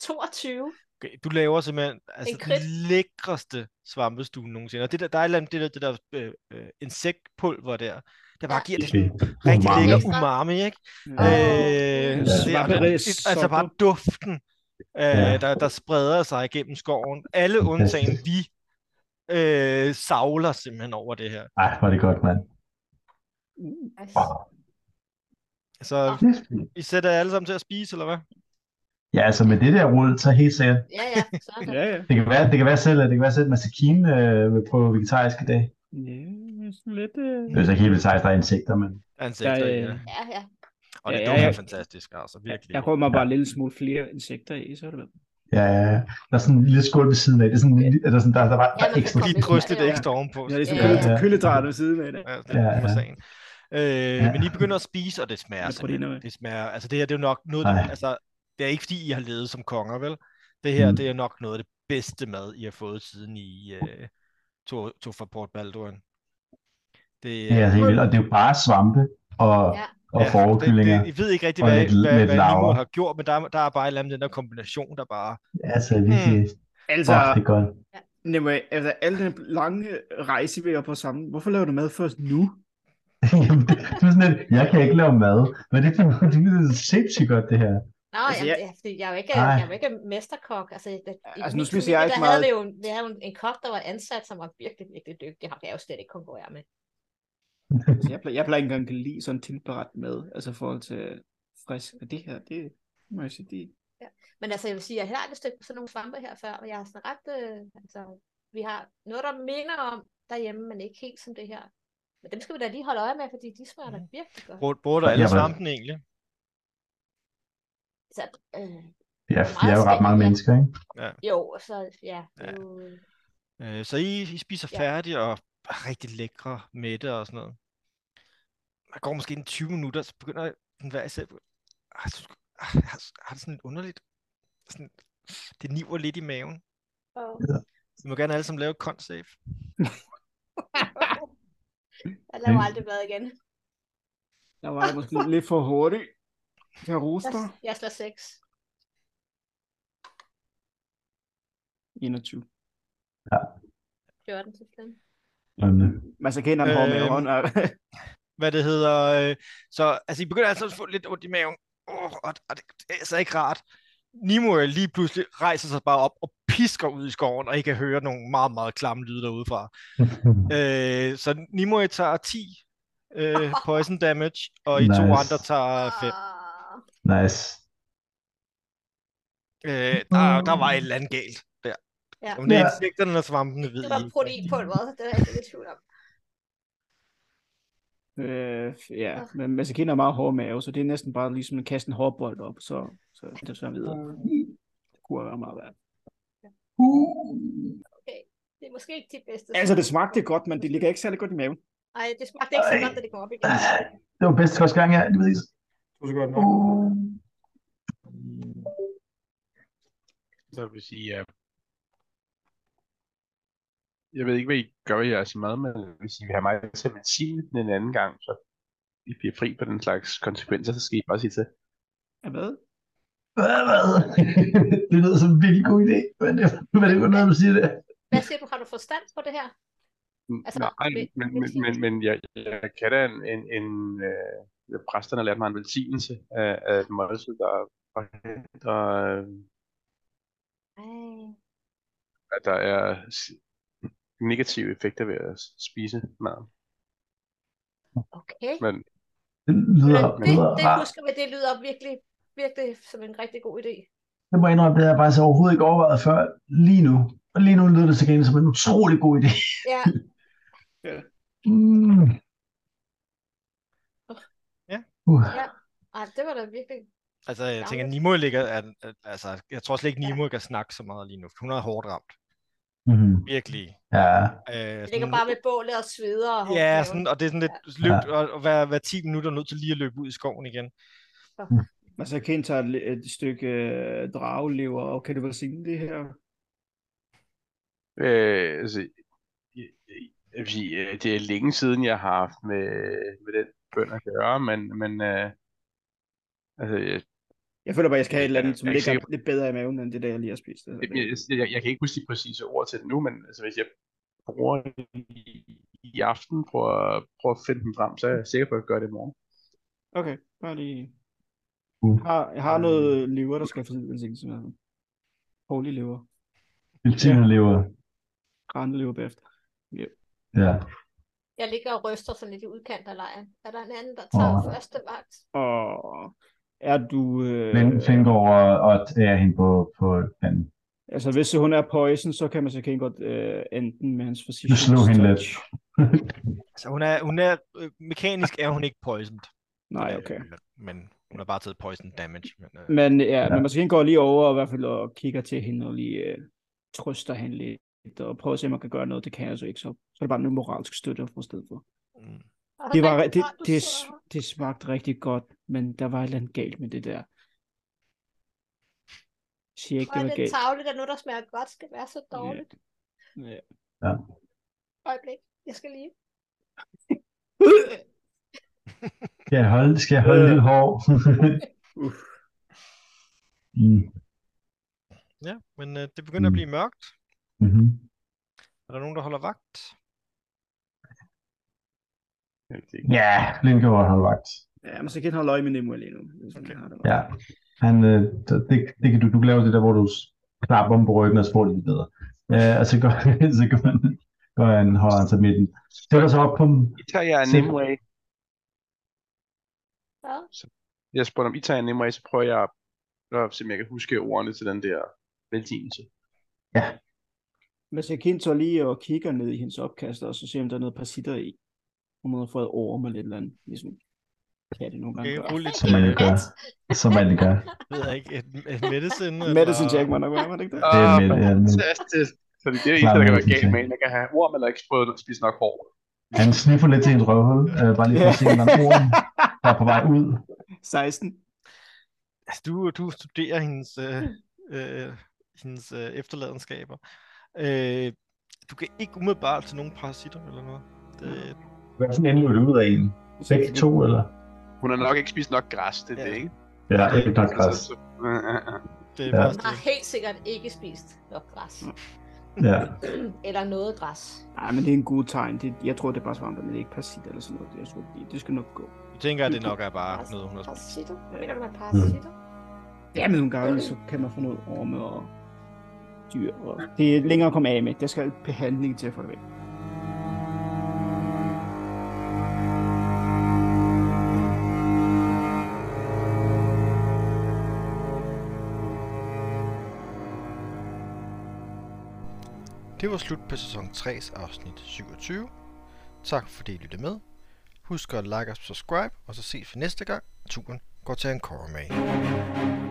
Speaker 1: 22.
Speaker 3: Okay, du laver simpelthen altså, den
Speaker 1: crit.
Speaker 3: lækreste svampestue nogensinde. Og det der, der er et eller andet, det der, det der øh, øh, insektpulver der, der bare
Speaker 1: Ja.
Speaker 3: giver det
Speaker 2: Okay.
Speaker 3: sådan rigtig
Speaker 2: Umami.
Speaker 3: lækker umami, ikke? Øh,
Speaker 1: Åh.
Speaker 3: så det,
Speaker 1: Ja.
Speaker 3: og der,
Speaker 4: Svamperi er
Speaker 3: det, altså
Speaker 4: så
Speaker 3: bare
Speaker 4: god.
Speaker 3: duften, øh,
Speaker 2: Ja.
Speaker 3: der, der spreder sig igennem skoven. Alle undtagen
Speaker 2: Fantastisk.
Speaker 3: vi øh, savler simpelthen over det her.
Speaker 2: Ej, hvor er det godt, mand.
Speaker 1: Nice.
Speaker 2: Åh,
Speaker 3: Så
Speaker 2: det er fint.
Speaker 3: I sætter jer alle sammen til at spise, eller hvad?
Speaker 2: Ja, altså med det der rulle, så helt sikkert.
Speaker 1: Ja, ja, sådan.
Speaker 4: Ja, ja.
Speaker 2: Det kan være, det kan være selv, at det kan være selv, at Masakine øh, vil prøve vegetarisk i dag.
Speaker 4: Ja, sådan lidt... Øh...
Speaker 2: Det er så ikke helt vegetarisk, der er insekter, men
Speaker 3: Ansigter,
Speaker 4: Jeg,
Speaker 3: ja, ja.
Speaker 4: øh,
Speaker 1: Ja, ja.
Speaker 3: Og det ja,
Speaker 4: ja, ja,
Speaker 3: dufter
Speaker 4: jeg-
Speaker 3: fantastisk, altså
Speaker 4: Jeg,
Speaker 3: virkelig.
Speaker 4: jeg rømmer bare en lille smule flere insekter i, så er det vel.
Speaker 2: ja, ja, ja. der er sådan en lille skål ved siden af. Det er sådan, er der, sådan, der, der, var, der er
Speaker 1: Ja,
Speaker 2: ekstra.
Speaker 1: men-
Speaker 3: Lige drystet det
Speaker 1: Ja, ja.
Speaker 3: ekstra ovenpå.
Speaker 4: Jeg er ligesom
Speaker 1: Ja, ja.
Speaker 4: ja, ja. køledræt ved siden af det.
Speaker 3: Ja, det
Speaker 2: Ja,
Speaker 3: er
Speaker 2: ja.
Speaker 3: sagen. Øh,
Speaker 2: Ja.
Speaker 3: Men I begynder at spise, og det smager
Speaker 4: Med
Speaker 3: simpelthen.
Speaker 4: proteiner, ikke?
Speaker 3: Det smager, altså det her, det er jo nok noget,
Speaker 2: Ej.
Speaker 3: det, altså, det er ikke fordi, I har levet som konger, vel? Det her,
Speaker 2: Mm.
Speaker 3: det er nok noget af det bedste mad, I har fået siden I øh, tog, tog fra Port Balduin. Det, øh,
Speaker 2: Ja, altså, helt vildt. og det er jo bare svampe og,
Speaker 1: Ja.
Speaker 2: og
Speaker 3: det-
Speaker 2: forekyllinger.
Speaker 3: det, I ved ikke rigtig,
Speaker 2: og
Speaker 3: hvad,
Speaker 2: lidt-
Speaker 3: hvad,
Speaker 2: lidt
Speaker 3: hvad Nimo
Speaker 2: larver.
Speaker 3: har gjort, men der, der er bare et eller andet med den der kombination, der bare...
Speaker 2: Altså, virkelig,
Speaker 3: Hmm.
Speaker 4: Altså,
Speaker 2: fuck, det er godt.
Speaker 4: Nemlig, altså, al den lange rejse, vi er på sammen. Hvorfor laver du mad først nu?
Speaker 2: Jamen, det, det er sådan lidt, jeg kan ikke lave mad, men det, er, det lyder sindssygt godt, det her.
Speaker 1: Nå,
Speaker 4: Altså,
Speaker 1: altså, jeg,
Speaker 4: jeg-
Speaker 1: ja, fordi jeg er jo ikke,
Speaker 2: Ej.
Speaker 1: jeg er jo ikke mesterkok. Altså, i, i
Speaker 4: Altså,
Speaker 1: min
Speaker 4: nu spiser
Speaker 1: familie,
Speaker 4: jeg ikke
Speaker 1: der havde
Speaker 4: meget-
Speaker 1: Vi, jo, en- vi havde jo en, en kok, der var ansat, som var virkelig, virkelig dygtig. Ham kan jeg jo slet ikke konkurrere med.
Speaker 4: Altså, jeg, plejer, jeg plejer ikke engang at lide sådan tilberedt mad, altså i forhold til frisk. Og det her, det må jeg sige, det
Speaker 1: Men altså, jeg vil sige, jeg har heller aldrig stødt på sådan nogle svampe her før, og jeg har sådan ret, øh, altså, vi har noget, der minder om derhjemme, men ikke helt som det her. Men dem skal vi da lige holde øje med, fordi de smager da virkelig godt.
Speaker 3: Bruger, bruger du alle
Speaker 2: Jamen.
Speaker 3: svampene egentlig?
Speaker 1: Så, øh,
Speaker 2: Vi er, vi er jo ret mange mennesker, ikke?
Speaker 1: jo, så ja, det er
Speaker 3: Ja.
Speaker 1: jo,
Speaker 3: Øh, så I, I spiser
Speaker 1: Ja.
Speaker 3: færdig og er rigtig lækre mætte og sådan noget. Der går måske en 20 minutter, så begynder den hver især... Ah, så- ah, Jeg har, har det sådan lidt underligt. Sådan, det niver lidt i maven.
Speaker 1: og,
Speaker 3: Vi må gerne alle sammen lave et con save.
Speaker 1: jeg laver aldrig mad igen.
Speaker 4: der var jeg måske lidt for hurtig. Jeg
Speaker 1: Jeg,
Speaker 4: roster.
Speaker 1: jeg slår seks.
Speaker 4: 21.
Speaker 1: 14 til den.
Speaker 2: Men, øh,
Speaker 4: Man så kender en hård
Speaker 3: Øhm.
Speaker 4: maven. og-
Speaker 3: Hvad det hedder. Øh, så altså, I begynder altså at få lidt ondt i maven. Oh, og, og det, det er altså ikke rart. Nimo øh, lige pludselig rejser sig bare op og pisker ud i skoven, og I kan høre nogle meget, meget klamme lyde derudefra. Øh, så Nimue tager 10 øh, poison damage, og I to
Speaker 2: Nice.
Speaker 3: andre tager 5.
Speaker 1: Ah,
Speaker 2: nice.
Speaker 3: Øh, der, der var et eller andet galt der.
Speaker 1: Ja.
Speaker 3: Om det er
Speaker 2: Ja.
Speaker 3: insekterne eller svampene, ved
Speaker 1: altså. Det
Speaker 3: jeg
Speaker 1: var
Speaker 3: ikke.
Speaker 1: proteinpulveret, det er jeg ikke i tvivl om.
Speaker 4: Øh, ja, men Masakine er meget hård mave, så det er næsten bare ligesom at kaste en hårbold op, så, så det så videre. Det kunne være meget værd.
Speaker 1: Okay, det er måske ikke det bedste.
Speaker 4: Altså, det smagte godt, men det ligger ikke særlig godt i maven.
Speaker 1: Nej, det smagte ikke så godt, da det kom op igen.
Speaker 2: Det var bedst første gang, jeg det ved ikke.
Speaker 6: Det var så godt nok.
Speaker 2: Uh,
Speaker 5: Så vil sige, uh... jeg ved ikke, hvad I gør i jeres mad, men jeg vil sige, vi har mig til at sige den en anden gang, så I bliver fri på den slags konsekvenser, så skal I bare sige til.
Speaker 4: Ja, Hvad?
Speaker 2: Hvad, hvad? det lyder som en vildt god idé. Hvad er det, hvad er det for noget, man siger det?
Speaker 1: Hvad siger du, har du forstand på det her? Altså,
Speaker 5: Altså, Nej,
Speaker 1: vil-
Speaker 5: men, men,
Speaker 1: velsignelse.
Speaker 5: men, men jeg, jeg kan da en, en, en øh, præsterne har lært mig en velsignelse af, af et måltid, der forhindrer, øh,
Speaker 1: Ej,
Speaker 5: at der er s- negative effekter ved at s- spise mad.
Speaker 1: okay.
Speaker 5: Men
Speaker 2: Det
Speaker 1: Men
Speaker 2: lyder,
Speaker 1: det,
Speaker 2: lyder
Speaker 1: det
Speaker 2: rart.
Speaker 1: husker vi, det lyder virkelig, virkelig som en rigtig god idé.
Speaker 2: Det må jeg indrømme, det havde jeg faktisk overhovedet ikke overvejet før lige nu. Og lige nu lyder det til gengæld som en utrolig god idé.
Speaker 1: Ja,
Speaker 2: Mm.
Speaker 3: Ja.
Speaker 2: Uh.
Speaker 1: Ja. ej, det var da virkelig...
Speaker 3: Altså, jeg tænker,
Speaker 1: Gamle.
Speaker 3: Nimo ligger... Er, er- altså, jeg tror slet ikke,
Speaker 1: Ja.
Speaker 3: Nimo kan snakke så meget lige nu. for Hun er hårdt ramt.
Speaker 2: Mm.
Speaker 3: Virkelig.
Speaker 2: Ja.
Speaker 3: Øh,
Speaker 1: Jeg ligger
Speaker 3: sådan-
Speaker 1: bare med bålet og sveder og hårdt
Speaker 3: Ja,
Speaker 1: maven.
Speaker 3: sådan, og det er sådan lidt løb, og, og hver, hver 10 minutter er nødt til lige at løbe ud i skoven igen.
Speaker 4: Masakine tager et, li- et stykke øh, dragelever, og kan du velsigne det her?
Speaker 5: øh, altså, jeg, jeg, vi, øh, det er længe siden, jeg har haft med, med den bøn at gøre, men, men øh, altså, jeg,
Speaker 4: Jeg føler bare, jeg skal have et eller andet, som
Speaker 5: Jeg er ikke
Speaker 4: ligger
Speaker 5: sikker.
Speaker 4: lidt bedre i maven, end det der, jeg lige har spist.
Speaker 5: jeg, jeg, jeg, jeg kan ikke huske de præcise ord til det nu, men altså, hvis jeg bruger i, i aften, prøver, at- prøver at finde dem frem, så er jeg sikker på, at jeg gør det i morgen.
Speaker 4: Okay, bare lige...
Speaker 2: Uh.
Speaker 4: Jeg har, jeg har noget lever, der skal få sin velsignelse med. Holy lever.
Speaker 2: Velsignet lever.
Speaker 4: Grænne lever bagefter.
Speaker 2: Ja.
Speaker 1: Jeg ligger og ryster sådan lidt i udkant af lejren. Er der en anden, der tager
Speaker 2: Åh.
Speaker 1: første vagt?
Speaker 4: Og er du... Øh,
Speaker 2: Men Fingård og, og er hende på, på panden.
Speaker 4: altså, hvis hun er poison, så kan man så kan godt øh, enten med hans forsikring.
Speaker 2: Du slog hende lidt.
Speaker 3: Altså, hun er, hun er øh, mekanisk er hun ikke poisoned.
Speaker 4: Nej,
Speaker 3: Øh,
Speaker 4: okay.
Speaker 3: Men hun har bare taget poison damage. Men, øh,
Speaker 4: Men ja, ja.
Speaker 2: Ja.
Speaker 4: men måske går lige over og i hvert fald og kigger til hende og lige øh, trøster hende lidt og prøver at se, om man kan gøre noget. Det kan jeg så ikke, så, så er det bare noget moralsk støtte fra stedet for.
Speaker 3: mm.
Speaker 1: Og
Speaker 4: Det, var,
Speaker 1: rigtig
Speaker 4: det,
Speaker 1: godt, du
Speaker 4: det,
Speaker 1: sidder her.
Speaker 4: det smagte rigtig godt, men der var et eller andet galt med det der. Jeg siger ikke,
Speaker 1: Hvor
Speaker 4: det
Speaker 1: er
Speaker 4: var
Speaker 1: det
Speaker 4: galt.
Speaker 1: tavle, der nu, der smager godt, skal være så dårligt.
Speaker 4: Ja.
Speaker 1: Øjeblik, jeg skal lige. Øh.
Speaker 2: Skal jeg holde, skal jeg holde
Speaker 4: Øh.
Speaker 2: lidt hår?
Speaker 4: Uff.
Speaker 2: mm.
Speaker 3: ja, men øh, det begynder at
Speaker 2: Mm.
Speaker 3: blive mørkt.
Speaker 2: Mm-hmm.
Speaker 3: Er der nogen, der holder vagt?
Speaker 5: Jeg ved det ikke.
Speaker 2: Ja, Lindgaard holder vagt.
Speaker 4: Ja, men så kan jeg holde øje med Nemo lige nu. hvis man
Speaker 3: Okay.
Speaker 4: har det.
Speaker 2: Ja. Han, øh, der- det, det kan du, du kan lave det der, hvor du s- klapper om på ryggen og spår lidt bedre. Øh, og så går, så går han, går han, holder han sig midten. Sætter sig op på
Speaker 5: I tager jer en
Speaker 2: Selv-
Speaker 5: Nimue.
Speaker 1: Hvad?
Speaker 5: Jeg spurgte om I tager en Nimue, så prøver jeg at se, om jeg kan huske ordene til den der velsignelse.
Speaker 4: Men så kan så lige og kigger ned i hendes opkast, og så ser om der er noget parasitter i. Om hun har fået orme eller et eller andet. Ligesom kan det nogle gange
Speaker 3: Okay,
Speaker 4: gøre.
Speaker 3: rul lidt
Speaker 2: Som man jo
Speaker 3: øh,
Speaker 2: gør. Som man jo gør.
Speaker 3: ved jeg ikke, et, et medicine.
Speaker 4: Medicine
Speaker 3: eller-
Speaker 4: check må nok være, var det ikke det?
Speaker 2: Det er
Speaker 5: Ah,
Speaker 2: med, det er med.
Speaker 5: Fantastisk. Så det er det
Speaker 2: Klar,
Speaker 5: eneste, der kan være
Speaker 2: medicine
Speaker 5: galt med
Speaker 2: check.
Speaker 5: en, der kan have orm eller ikke prøvet at spise nok hår.
Speaker 2: Han sniffer lidt til hendes røvhul, øh, bare lige for at se, om der er ord, der er på vej ud.
Speaker 4: 16.
Speaker 3: Altså, du, du studerer hendes, øh, øh, hendes øh, efterladenskaber. Øh, du kan ikke umiddelbart til nogen parasitter eller noget. Det,
Speaker 2: Hvad for en løber det ud af en? Begge to, eller?
Speaker 5: Hun har nok ikke spist nok græs, det er
Speaker 3: Ja.
Speaker 5: det, ikke?
Speaker 2: Ja, ikke nok græs.
Speaker 5: Så- så- øh, øh, øh.
Speaker 3: det er
Speaker 2: Ja.
Speaker 3: ja.
Speaker 1: Hun har helt sikkert ikke spist nok græs.
Speaker 4: Mm.
Speaker 2: Ja.
Speaker 1: Eller noget græs.
Speaker 4: Nej, men det er en god tegn. Det, jeg tror, det er bare svampe, men det er ikke parasitter eller sådan noget. Jeg tror, det, det skal nok gå.
Speaker 3: Du tænker, at det nok er bare
Speaker 1: Pars-
Speaker 3: noget, hun har spist.
Speaker 1: Parasitter? Hvad mener du
Speaker 4: Mm.
Speaker 1: med parasitter?
Speaker 4: Ja, men nogle gange, så kan man få noget orme og dyr. Og det er længere at komme af med. Der skal behandling til at få det væk.
Speaker 3: Det var slut på sæson 3's afsnit 27. Tak fordi I lyttede med. Husk at like og subscribe, og så ses vi næste gang. Turen går til Ankara med.